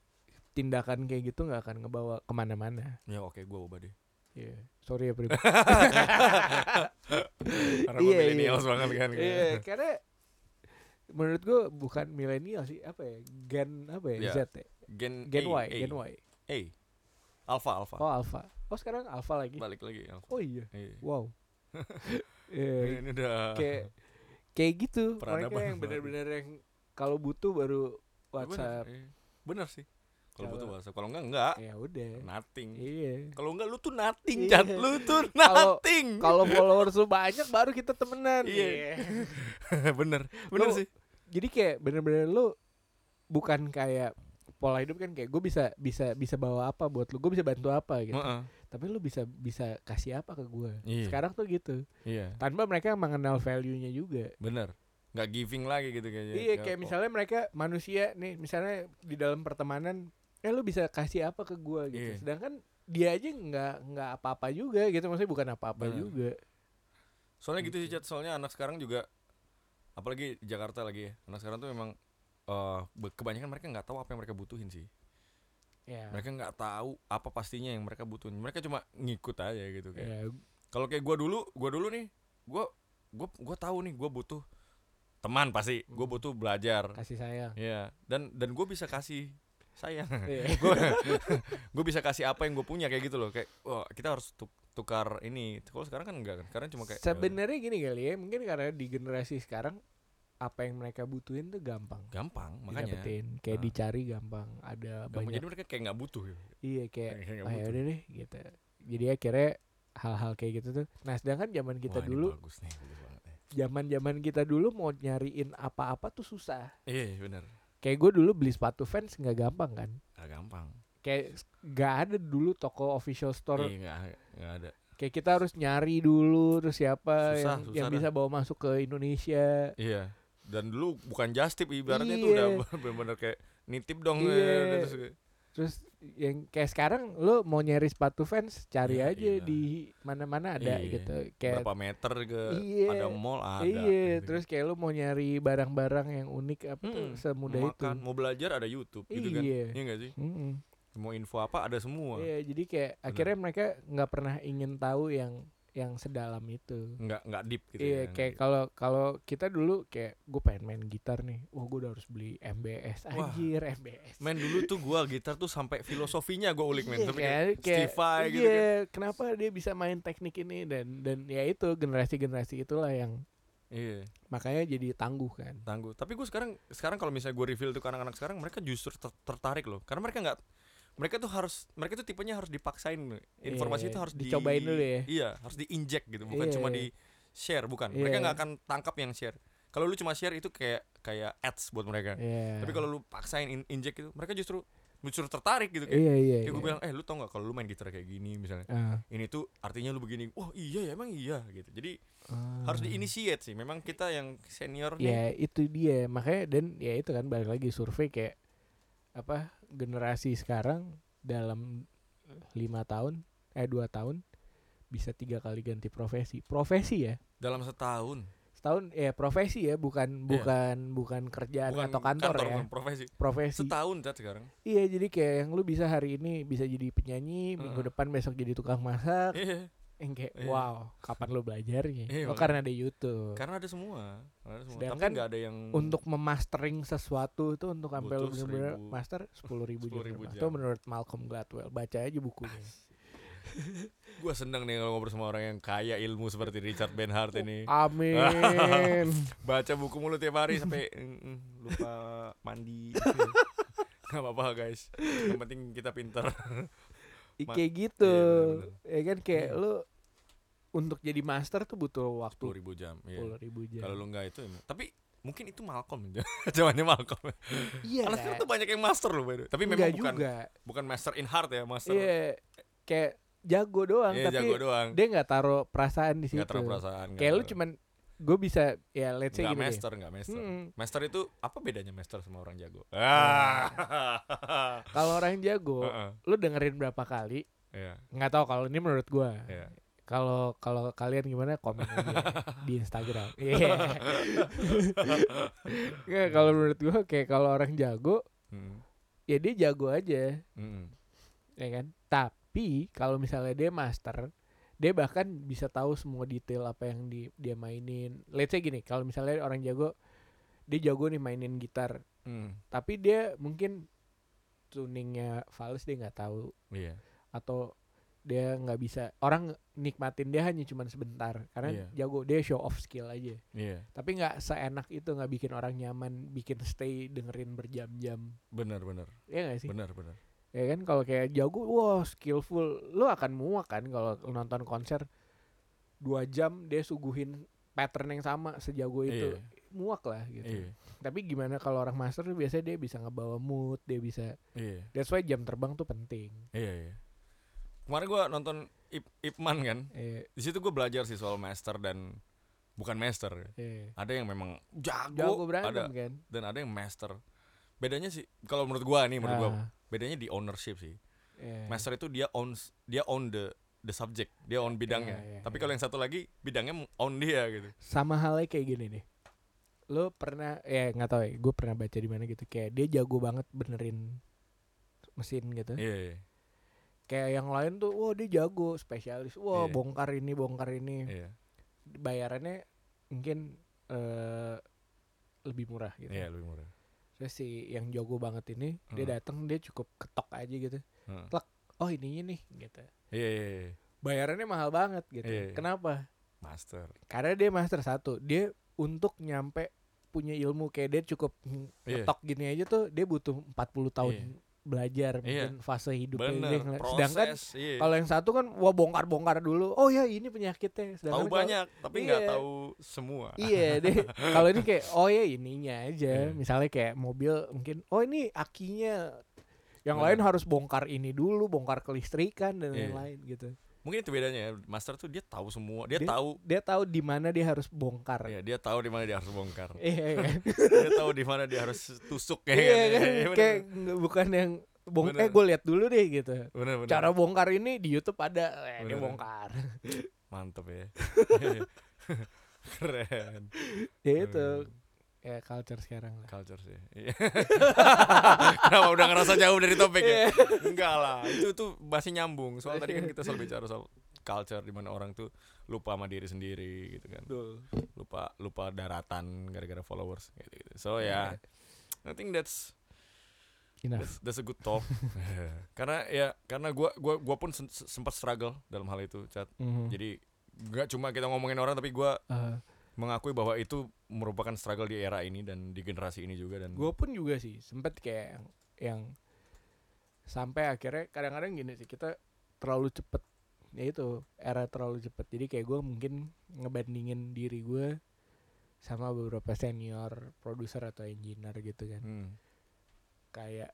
[SPEAKER 2] tindakan kayak gitu nggak akan ngebawa kemana-mana.
[SPEAKER 1] Ya oke gua ubah deh.
[SPEAKER 2] Iya, sorry ya pribadi.
[SPEAKER 1] Karena gua
[SPEAKER 2] Iya, iya.
[SPEAKER 1] millennials banget kan.
[SPEAKER 2] Iya, karena menurut gue bukan milenial sih, apa ya? Gen apa ya?
[SPEAKER 1] Iya.
[SPEAKER 2] Z ya?
[SPEAKER 1] Gen
[SPEAKER 2] Gen
[SPEAKER 1] A,
[SPEAKER 2] Y,
[SPEAKER 1] A,
[SPEAKER 2] Gen Y.
[SPEAKER 1] A. Alpha, alpha.
[SPEAKER 2] Oh alpha. Oh sekarang alpha lagi.
[SPEAKER 1] Balik lagi alpha.
[SPEAKER 2] Oh iya.
[SPEAKER 1] Iya.
[SPEAKER 2] Wow.
[SPEAKER 1] Ini,
[SPEAKER 2] Iya,
[SPEAKER 1] ini udah Ya
[SPEAKER 2] kayak kayak gitu.
[SPEAKER 1] Peradaban
[SPEAKER 2] Mereka yang
[SPEAKER 1] banget.
[SPEAKER 2] benar-benar yang kalau butuh baru
[SPEAKER 1] Bener,
[SPEAKER 2] WhatsApp.
[SPEAKER 1] iya. Bener sih. Kalau
[SPEAKER 2] Kalau-
[SPEAKER 1] butuh WhatsApp, kalau enggak enggak.
[SPEAKER 2] Ya udah.
[SPEAKER 1] Nothing.
[SPEAKER 2] Iya.
[SPEAKER 1] Kalau enggak lu tuh nothing,
[SPEAKER 2] Iya.
[SPEAKER 1] Chat. Lu tuh
[SPEAKER 2] Kalau-
[SPEAKER 1] nothing.
[SPEAKER 2] Kalau followers lu banyak baru kita temenan.
[SPEAKER 1] Iya. bener. Bener
[SPEAKER 2] Lu-
[SPEAKER 1] sih.
[SPEAKER 2] Jadi kayak benar-benar lu bukan kayak pola hidup kan kayak gue bisa bisa bisa bawa apa buat lu gue bisa bantu apa gitu
[SPEAKER 1] Heeh.
[SPEAKER 2] tapi lu bisa bisa kasih apa ke gue
[SPEAKER 1] Iya.
[SPEAKER 2] sekarang tuh gitu
[SPEAKER 1] Iya.
[SPEAKER 2] tanpa mereka mengenal value nya juga
[SPEAKER 1] Bener. Nggak giving lagi gitu kayaknya.
[SPEAKER 2] Iya
[SPEAKER 1] Nggak-
[SPEAKER 2] kayak
[SPEAKER 1] oh,
[SPEAKER 2] misalnya mereka manusia nih misalnya di dalam pertemanan eh lu bisa kasih apa ke gua
[SPEAKER 1] Iya.
[SPEAKER 2] gitu sedangkan dia aja nggak nggak apa-apa juga gitu maksudnya bukan apa-apa
[SPEAKER 1] Benar.
[SPEAKER 2] juga
[SPEAKER 1] Soalnya gitu sih
[SPEAKER 2] Gitu.
[SPEAKER 1] Chat, soalnya anak sekarang juga apalagi Jakarta lagi ya. Anak sekarang tuh memang eh, be- kebanyakan mereka nggak tahu apa yang mereka butuhin sih.
[SPEAKER 2] ya
[SPEAKER 1] Iya. Mereka nggak tahu apa pastinya yang mereka butuhin. Mereka cuma ngikut aja gitu kayak.
[SPEAKER 2] ya
[SPEAKER 1] Kalau kayak gua dulu, gua dulu nih, gua gua gua tahu nih gua butuh teman pasti. Gua
[SPEAKER 2] Hmm.
[SPEAKER 1] butuh belajar.
[SPEAKER 2] kasih sayang
[SPEAKER 1] Iya, dan dan gua bisa kasih sayang.
[SPEAKER 2] Iya.
[SPEAKER 1] gue gue bisa kasih apa yang gue punya kayak gitu loh kayak wah kita harus tuk- tukar ini kalau sekarang kan enggak kan sekarang cuma kayak
[SPEAKER 2] sebenarnya gini kali ya mungkin karena di generasi sekarang apa yang mereka butuhin tuh gampang
[SPEAKER 1] eh, gampang makanya
[SPEAKER 2] didapetin kayak
[SPEAKER 1] Ah.
[SPEAKER 2] dicari gampang ada
[SPEAKER 1] gampang
[SPEAKER 2] Iya, banyak
[SPEAKER 1] jadi mereka kayak nggak butuh gitu.
[SPEAKER 2] iya kayak
[SPEAKER 1] kayak nggak
[SPEAKER 2] oh ya
[SPEAKER 1] butuh
[SPEAKER 2] udah deh gitu jadi akhirnya hal-hal kayak gitu tuh nah sedangkan zaman kita
[SPEAKER 1] Wah, ini
[SPEAKER 2] dulu
[SPEAKER 1] bagus nih bagus banget nih.
[SPEAKER 2] zaman-zaman kita dulu mau nyariin apa-apa tuh susah
[SPEAKER 1] iya iya, bener
[SPEAKER 2] Kayak gue dulu beli sepatu fans nggak gampang kan?
[SPEAKER 1] nggak gampang
[SPEAKER 2] Kayak s- nggak ada dulu toko official store.
[SPEAKER 1] iya nggak nggak ada
[SPEAKER 2] Kayak kita harus nyari dulu terus
[SPEAKER 1] Susah,
[SPEAKER 2] siapa yang,
[SPEAKER 1] susah
[SPEAKER 2] yang
[SPEAKER 1] dah.
[SPEAKER 2] bisa bawa masuk ke Indonesia.
[SPEAKER 1] iya dan dulu bukan just tip ibaratnya tuh
[SPEAKER 2] Iya.
[SPEAKER 1] udah bener-bener kayak nitip dong
[SPEAKER 2] Iya.
[SPEAKER 1] eh, dan terus kayak-
[SPEAKER 2] Terus yang kayak sekarang lo mau nyari sepatu fans cari
[SPEAKER 1] Ya
[SPEAKER 2] aja
[SPEAKER 1] iyalah.
[SPEAKER 2] di mana-mana ada
[SPEAKER 1] Iya.
[SPEAKER 2] gitu. Kayak
[SPEAKER 1] berapa meter ke
[SPEAKER 2] Iya.
[SPEAKER 1] ada mall ada
[SPEAKER 2] iya,
[SPEAKER 1] gitu.
[SPEAKER 2] terus kayak lo mau nyari barang-barang yang unik apa tuh
[SPEAKER 1] Mm-mm. mau
[SPEAKER 2] semudah itu.
[SPEAKER 1] Hmm, makan mau belajar ada YouTube gitu kan
[SPEAKER 2] Iya.
[SPEAKER 1] iya nggak sih
[SPEAKER 2] Mm-mm.
[SPEAKER 1] mau info apa ada semua
[SPEAKER 2] Iya, jadi kayak akhirnya mereka nggak pernah ingin tahu yang yang sedalam itu.
[SPEAKER 1] nggak nggak deep gitu ya,
[SPEAKER 2] iya,
[SPEAKER 1] nggak
[SPEAKER 2] kayak
[SPEAKER 1] deep.
[SPEAKER 2] kalau kalau kita dulu kayak gue pengen main gitar nih. Wah, gue udah harus beli MBS
[SPEAKER 1] Wah.
[SPEAKER 2] anjir, MBS.
[SPEAKER 1] Men dulu tuh gua gitar tuh sampai filosofinya gua ulik men
[SPEAKER 2] Iya,
[SPEAKER 1] sampai
[SPEAKER 2] kayak-
[SPEAKER 1] kayak
[SPEAKER 2] kayak-
[SPEAKER 1] Stevie gitu
[SPEAKER 2] iya,
[SPEAKER 1] kan.
[SPEAKER 2] kenapa dia bisa main teknik ini dan dan ya itu generasi-generasi itulah yang
[SPEAKER 1] Iya,
[SPEAKER 2] makanya jadi tangguh kan.
[SPEAKER 1] tangguh. Tapi gua sekarang sekarang kalau misalnya gua reveal tuh ke anak-anak sekarang mereka justru ter- tertarik loh. Karena mereka nggak mereka tuh harus mereka tuh tipenya harus dipaksain. Informasi
[SPEAKER 2] Iya,
[SPEAKER 1] itu harus di-
[SPEAKER 2] dicobain dulu ya.
[SPEAKER 1] Iya, harus diinjek gitu, bukan
[SPEAKER 2] Iya,
[SPEAKER 1] cuma
[SPEAKER 2] iya.
[SPEAKER 1] di share, bukan.
[SPEAKER 2] Iya.
[SPEAKER 1] Mereka nggak akan tangkap yang share. Kalau lu cuma share itu kayak kayak ads buat mereka.
[SPEAKER 2] Iya.
[SPEAKER 1] Tapi kalau lu paksain in- injek itu, mereka justru justru tertarik gitu kayak.
[SPEAKER 2] Iya, iya.
[SPEAKER 1] kayak gua
[SPEAKER 2] iya.
[SPEAKER 1] bilang, "Eh, lu tau nggak kalau lu main gitar kayak gini misalnya?"
[SPEAKER 2] Ah,
[SPEAKER 1] ini tuh artinya lu begini wah iya ya emang iya gitu jadi
[SPEAKER 2] ah.
[SPEAKER 1] harus diinitiate sih memang kita yang senior nih
[SPEAKER 2] Iya. Ya itu dia makanya dan ya itu kan balik lagi survei kayak apa generasi sekarang dalam lima tahun eh dua tahun bisa tiga kali ganti profesi profesi ya
[SPEAKER 1] dalam setahun
[SPEAKER 2] setahun ya profesi ya bukan
[SPEAKER 1] Iya.
[SPEAKER 2] bukan bukan kerjaan
[SPEAKER 1] bukan
[SPEAKER 2] atau kantor, ya
[SPEAKER 1] bukan profesi
[SPEAKER 2] profesi
[SPEAKER 1] setahun cat sekarang
[SPEAKER 2] iya jadi kayak yang lu bisa hari ini bisa jadi penyanyi minggu
[SPEAKER 1] Heeh.
[SPEAKER 2] depan besok jadi tukang masak
[SPEAKER 1] Iya,
[SPEAKER 2] yang
[SPEAKER 1] Iya.
[SPEAKER 2] kayak wow kapan lu belajarnya
[SPEAKER 1] Iya,
[SPEAKER 2] oh
[SPEAKER 1] makanya.
[SPEAKER 2] karena ada YouTube
[SPEAKER 1] karena ada semua, karena ada semua. tapi
[SPEAKER 2] Sedangkan
[SPEAKER 1] nggak ada yang
[SPEAKER 2] untuk memastering sesuatu itu untuk sampai
[SPEAKER 1] Hmm.
[SPEAKER 2] lu
[SPEAKER 1] Butuh
[SPEAKER 2] bener-bener
[SPEAKER 1] seribu-
[SPEAKER 2] master 10.000 ribu jam.
[SPEAKER 1] 10.000
[SPEAKER 2] Itu
[SPEAKER 1] jam.
[SPEAKER 2] menurut Malcolm Gladwell. Baca aja bukunya.
[SPEAKER 1] gue seneng nih kalau ngobrol sama orang yang kaya ilmu seperti Richard Benhart ini
[SPEAKER 2] Amin.
[SPEAKER 1] baca buku mulu tiap hari sampai mm, mm, lupa mandi nggak apa-apa guys yang penting kita pintar
[SPEAKER 2] I-
[SPEAKER 1] Ma- iya,
[SPEAKER 2] kayak gitu. Ya
[SPEAKER 1] bener-bener.
[SPEAKER 2] kan kayak
[SPEAKER 1] Iya.
[SPEAKER 2] lu untuk jadi master tuh butuh
[SPEAKER 1] sepuluh
[SPEAKER 2] waktu 10.000
[SPEAKER 1] ribu jam iya.
[SPEAKER 2] jam.
[SPEAKER 1] kalau lu nggak itu emang- tapi mungkin itu Malcolm jawabannya Malcolm
[SPEAKER 2] iya
[SPEAKER 1] karena
[SPEAKER 2] kan?
[SPEAKER 1] sekarang tuh banyak yang master loh by the way. tapi memang
[SPEAKER 2] Enggak
[SPEAKER 1] bukan
[SPEAKER 2] juga.
[SPEAKER 1] bukan master in heart ya master
[SPEAKER 2] Iya. Kayak jago doang
[SPEAKER 1] Iya,
[SPEAKER 2] tapi
[SPEAKER 1] jago doang
[SPEAKER 2] dia nggak taruh perasaan di situ.
[SPEAKER 1] nggak terlalu perasaan nggak
[SPEAKER 2] Kayak lu
[SPEAKER 1] terlalu-
[SPEAKER 2] cuman gue bisa ya Hmm. let's say
[SPEAKER 1] nggak
[SPEAKER 2] gini deh.
[SPEAKER 1] master nggak master
[SPEAKER 2] Mm-mm.
[SPEAKER 1] master itu apa bedanya master sama orang jago
[SPEAKER 2] Iya.
[SPEAKER 1] ah
[SPEAKER 2] Kalau orang jago,
[SPEAKER 1] Heeh,
[SPEAKER 2] lu dengerin berapa kali?
[SPEAKER 1] iya,
[SPEAKER 2] Nggak tahu kalau ini menurut gua.
[SPEAKER 1] iya.
[SPEAKER 2] Kalau kalau kalian gimana komen aja di Instagram. Iya. Nggak, kalau menurut gua kayak kalau orang jago
[SPEAKER 1] Mm,
[SPEAKER 2] ya dia jago aja,
[SPEAKER 1] mm.
[SPEAKER 2] ya kan? Tapi kalau misalnya dia master, dia bahkan bisa tahu semua detail apa yang di, dia mainin. Let's say gini, kalau misalnya orang jago dia jago nih mainin gitar,
[SPEAKER 1] Mm,
[SPEAKER 2] tapi dia mungkin tuningnya fals dia nggak tahu
[SPEAKER 1] iya
[SPEAKER 2] atau dia nggak bisa orang nikmatin dia hanya cuman sebentar karena
[SPEAKER 1] Iya.
[SPEAKER 2] jago dia show off skill aja
[SPEAKER 1] iya
[SPEAKER 2] tapi nggak seenak itu nggak bikin orang nyaman bikin stay dengerin berjam-jam
[SPEAKER 1] benar benar
[SPEAKER 2] ya nggak sih
[SPEAKER 1] benar benar
[SPEAKER 2] ya kan kalau kayak jago wah skillful lu akan muak kan kalau lu nonton konser dua jam dia suguhin pattern yang sama sejago Oh, itu
[SPEAKER 1] Iya.
[SPEAKER 2] muak lah gitu
[SPEAKER 1] iya
[SPEAKER 2] tapi gimana kalau orang master tuh biasanya dia bisa ngebawa mood dia bisa
[SPEAKER 1] iya
[SPEAKER 2] that's why jam terbang tuh penting
[SPEAKER 1] iya iya kemarin gua nonton Ip- Ipman kan
[SPEAKER 2] eh,
[SPEAKER 1] di situ gua belajar sih soal master dan bukan master
[SPEAKER 2] eh.
[SPEAKER 1] ada yang memang jago,
[SPEAKER 2] jago
[SPEAKER 1] ada
[SPEAKER 2] berantem kan
[SPEAKER 1] dan ada yang master bedanya sih kalau menurut gua nih menurut gua
[SPEAKER 2] Ah.
[SPEAKER 1] bedanya di ownership sih
[SPEAKER 2] Iya.
[SPEAKER 1] master itu dia owns dia own the the subject dia own bidangnya
[SPEAKER 2] iya,
[SPEAKER 1] tapi
[SPEAKER 2] iya.
[SPEAKER 1] kalau yang satu lagi bidangnya own dia gitu
[SPEAKER 2] sama halnya kayak gini nih lo pernah ya nggak tahu ya gue pernah baca di mana gitu kayak dia jago banget benerin mesin gitu
[SPEAKER 1] iya
[SPEAKER 2] kayak yang lain tuh wah dia jago spesialis wah
[SPEAKER 1] Iya.
[SPEAKER 2] bongkar ini bongkar ini
[SPEAKER 1] iya iya
[SPEAKER 2] bayarannya mungkin eh lebih murah gitu
[SPEAKER 1] Iya, lebih murah
[SPEAKER 2] terus si yang jago banget ini dia
[SPEAKER 1] Mm.
[SPEAKER 2] datang dia cukup ketok aja gitu
[SPEAKER 1] Heeh.
[SPEAKER 2] oh ininya nih gitu
[SPEAKER 1] iya iya iya.
[SPEAKER 2] bayarannya mahal banget gitu
[SPEAKER 1] Iya, iya.
[SPEAKER 2] kenapa
[SPEAKER 1] master
[SPEAKER 2] Karena dia master satu, dia untuk nyampe punya ilmu kayak dia cukup
[SPEAKER 1] Iya.
[SPEAKER 2] ngetok gini aja tuh dia butuh 40 tahun
[SPEAKER 1] Iya.
[SPEAKER 2] belajar
[SPEAKER 1] Iya.
[SPEAKER 2] mungkin fase hidupnya dia
[SPEAKER 1] bener
[SPEAKER 2] ngeliat.
[SPEAKER 1] proses
[SPEAKER 2] sedangkan
[SPEAKER 1] iya.
[SPEAKER 2] kalau yang satu kan wah bongkar-bongkar dulu. Oh ya ini
[SPEAKER 1] tahu
[SPEAKER 2] penyakitnya. Sedangkan kalau-
[SPEAKER 1] banyak tapi nggak
[SPEAKER 2] Iya.
[SPEAKER 1] tahu semua
[SPEAKER 2] Iya deh. Kalau ini kayak oh ya ininya aja.
[SPEAKER 1] Iya.
[SPEAKER 2] Misalnya kayak mobil mungkin oh ini akinya. Yang
[SPEAKER 1] Bener.
[SPEAKER 2] lain harus bongkar ini dulu, bongkar kelistrikan dan
[SPEAKER 1] Iya.
[SPEAKER 2] lain-lain gitu.
[SPEAKER 1] mungkin itu bedanya ya master tuh dia tahu semua dia,
[SPEAKER 2] Dia-
[SPEAKER 1] tahu
[SPEAKER 2] Dia tahu di mana dia harus bongkar.
[SPEAKER 1] ya dia tahu di mana dia harus bongkar
[SPEAKER 2] Iya kan?
[SPEAKER 1] dia tahu di mana dia harus tusuk kayak gitu.
[SPEAKER 2] Iya kan,
[SPEAKER 1] bener,
[SPEAKER 2] kayak nggak- bukan yang bong eh
[SPEAKER 1] Bener.
[SPEAKER 2] gue lihat dulu deh gitu.
[SPEAKER 1] bener, bener.
[SPEAKER 2] Cara bongkar ini di YouTube ada, eh, dia
[SPEAKER 1] Bener.
[SPEAKER 2] bongkar.
[SPEAKER 1] mantep ya keren
[SPEAKER 2] ya itu
[SPEAKER 1] Keren.
[SPEAKER 2] ya culture sekarang lah.
[SPEAKER 1] Culture sih. Iya. Kenapa udah ngerasa jauh dari topik ya? Enggak lah, itu tuh masih nyambung. Soal tadi kan kita selalu bicara soal culture di mana orang tuh lupa sama diri sendiri gitu kan. Lupa lupa daratan gara-gara followers gitu. -gitu. So ya, I think that's
[SPEAKER 2] Enough.
[SPEAKER 1] that's, that's a good talk. karena ya karena gua gua gua pun sen- sempat struggle dalam hal itu, Chat.
[SPEAKER 2] Mhm.
[SPEAKER 1] Jadi nggak cuma kita ngomongin orang tapi gua
[SPEAKER 2] Eh,
[SPEAKER 1] mengakui bahwa itu merupakan struggle di era ini dan di generasi ini juga dan
[SPEAKER 2] gue pun juga sih sempet kayak yang, yang sampai akhirnya kadang-kadang gini sih kita terlalu cepet ya itu era terlalu cepet jadi kayak gue mungkin ngebandingin diri gue sama beberapa senior produser atau engineer gitu kan
[SPEAKER 1] Hmm.
[SPEAKER 2] kayak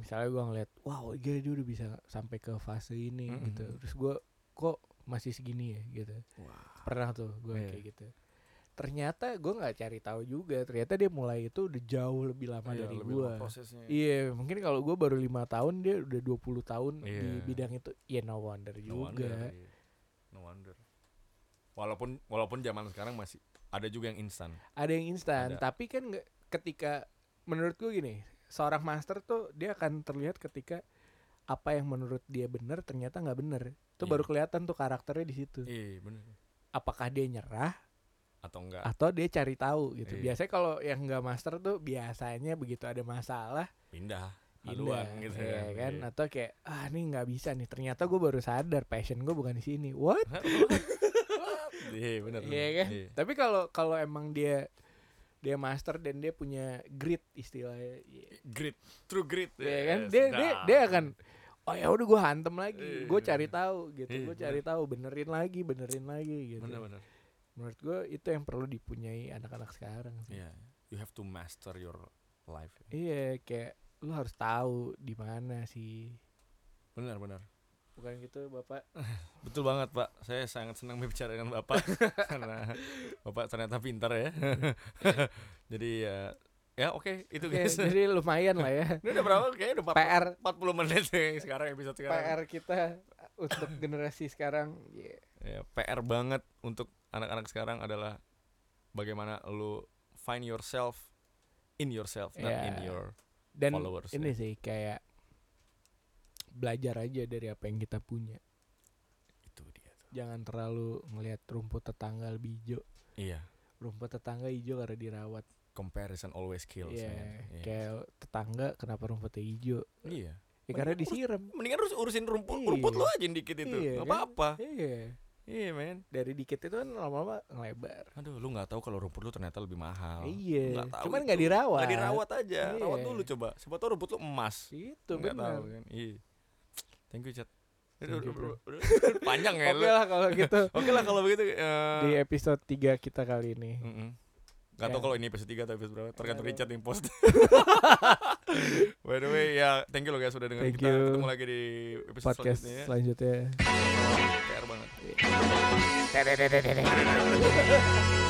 [SPEAKER 2] misalnya gua ngeliat wow gila dia udah bisa sampai ke fase ini
[SPEAKER 1] Mm-mm.
[SPEAKER 2] gitu terus gua kok masih segini ya gitu
[SPEAKER 1] Wah.
[SPEAKER 2] pernah tuh gue
[SPEAKER 1] Iya.
[SPEAKER 2] kayak gitu ternyata gue nggak cari tahu juga ternyata dia mulai itu udah jauh lebih lama
[SPEAKER 1] Iya,
[SPEAKER 2] dari
[SPEAKER 1] lebih
[SPEAKER 2] gue
[SPEAKER 1] lama prosesnya.
[SPEAKER 2] iya mungkin kalau gue baru lima tahun dia udah 20 tahun di
[SPEAKER 1] Iya.
[SPEAKER 2] bidang itu ya no wonder
[SPEAKER 1] No wonder,
[SPEAKER 2] juga
[SPEAKER 1] iya. No wonder. Walaupun walaupun zaman sekarang masih ada juga yang instan.
[SPEAKER 2] ada yang instan
[SPEAKER 1] Ada.
[SPEAKER 2] tapi kan nggak ketika menurut gue gini seorang master tuh dia akan terlihat ketika apa yang menurut dia benar ternyata nggak benar itu
[SPEAKER 1] Iya.
[SPEAKER 2] baru kelihatan tuh karakternya di situ
[SPEAKER 1] Iya, bener.
[SPEAKER 2] apakah dia nyerah
[SPEAKER 1] Atau enggak?
[SPEAKER 2] atau dia cari tahu gitu
[SPEAKER 1] Iya.
[SPEAKER 2] biasanya kalau yang nggak master tuh biasanya begitu ada masalah
[SPEAKER 1] pindah
[SPEAKER 2] pindah,
[SPEAKER 1] haluan gitu
[SPEAKER 2] ya
[SPEAKER 1] ya
[SPEAKER 2] kan atau kayak ah ini nggak bisa nih ternyata gue baru sadar passion gue bukan di sini what
[SPEAKER 1] iya benar
[SPEAKER 2] Iya kan? Tapi kalau kalau emang dia dia master dan dia punya grit istilahnya. Iya
[SPEAKER 1] grit true grit
[SPEAKER 2] Iya
[SPEAKER 1] Yes,
[SPEAKER 2] kan? Dia dia
[SPEAKER 1] dah.
[SPEAKER 2] dia akan oh ya udah gue hantem lagi,
[SPEAKER 1] Iya,
[SPEAKER 2] gue cari
[SPEAKER 1] bener.
[SPEAKER 2] tahu gitu,
[SPEAKER 1] Iya,
[SPEAKER 2] gue cari tahu, benerin lagi, benerin lagi gitu.
[SPEAKER 1] benar benar
[SPEAKER 2] Menurut gue itu yang perlu dipunyai anak-anak sekarang sih.
[SPEAKER 1] iya you have to master your life
[SPEAKER 2] Iya, kayak lu harus tahu di mana sih.
[SPEAKER 1] benar benar
[SPEAKER 2] Bukan gitu, Bapak.
[SPEAKER 1] betul banget pak saya sangat senang berbicara dengan bapak karena bapak ternyata pintar ya jadi ya ya oke itu
[SPEAKER 2] Oke,
[SPEAKER 1] guys
[SPEAKER 2] jadi lumayan lah ya.
[SPEAKER 1] ini udah berapa kayaknya udah
[SPEAKER 2] PR
[SPEAKER 1] 40 menit nih sekarang episode sekarang
[SPEAKER 2] PR kita untuk generasi sekarang ya
[SPEAKER 1] Ya, PR banget untuk anak-anak sekarang adalah bagaimana lu find yourself in yourself, not in
[SPEAKER 2] Ya.
[SPEAKER 1] your
[SPEAKER 2] dan
[SPEAKER 1] followers.
[SPEAKER 2] ini
[SPEAKER 1] ya.
[SPEAKER 2] sih kayak belajar aja dari apa yang kita punya
[SPEAKER 1] Itu dia tuh.
[SPEAKER 2] jangan terlalu ngelihat rumput tetangga lebih hijau
[SPEAKER 1] Iya,
[SPEAKER 2] rumput tetangga hijau karena dirawat
[SPEAKER 1] comparison always kills.
[SPEAKER 2] Iya,
[SPEAKER 1] man. Iya.
[SPEAKER 2] kayak tetangga kenapa rumputnya hijau
[SPEAKER 1] Iya.
[SPEAKER 2] ya karena
[SPEAKER 1] Mending urus-
[SPEAKER 2] disiram
[SPEAKER 1] Mendingan harus urusin rumput
[SPEAKER 2] Iya.
[SPEAKER 1] rumput lu aja yang dikit itu.
[SPEAKER 2] Iya,
[SPEAKER 1] Nggak
[SPEAKER 2] kan?
[SPEAKER 1] apa-apa.
[SPEAKER 2] iya
[SPEAKER 1] Iya, men.
[SPEAKER 2] dari dikit itu kan lama-lama ngelebar
[SPEAKER 1] Aduh, lu nggak tahu kalau rumput lu ternyata lebih mahal.
[SPEAKER 2] iya
[SPEAKER 1] Oh, Nggak tahu
[SPEAKER 2] cuman
[SPEAKER 1] itu.
[SPEAKER 2] nggak dirawat
[SPEAKER 1] Nggak dirawat aja. Rawat
[SPEAKER 2] Iya.
[SPEAKER 1] dulu coba. Siapa tahu rumput lu emas.
[SPEAKER 2] itu
[SPEAKER 1] Nggak
[SPEAKER 2] benar
[SPEAKER 1] tahu kan. Iya. Thank you, Chat.
[SPEAKER 2] Thank you, bro.
[SPEAKER 1] Panjang
[SPEAKER 2] oke
[SPEAKER 1] ya lu.
[SPEAKER 2] lah kalau gitu
[SPEAKER 1] Oke lah kalau begitu. eh,
[SPEAKER 2] di episode 3 kita kali ini
[SPEAKER 1] Mm-mm. Gak tau
[SPEAKER 2] Ya.
[SPEAKER 1] kalau ini episode 3 atau episode berapa Tergantung
[SPEAKER 2] Nggak
[SPEAKER 1] Richard yang post By the way ya Thank you loh guys Sudah dengerin
[SPEAKER 2] Thank
[SPEAKER 1] kita
[SPEAKER 2] you.
[SPEAKER 1] Ketemu lagi di episode
[SPEAKER 2] podcast
[SPEAKER 1] selanjutnya ya.
[SPEAKER 2] selanjutnya
[SPEAKER 1] PR banget
[SPEAKER 2] Tadadadadada.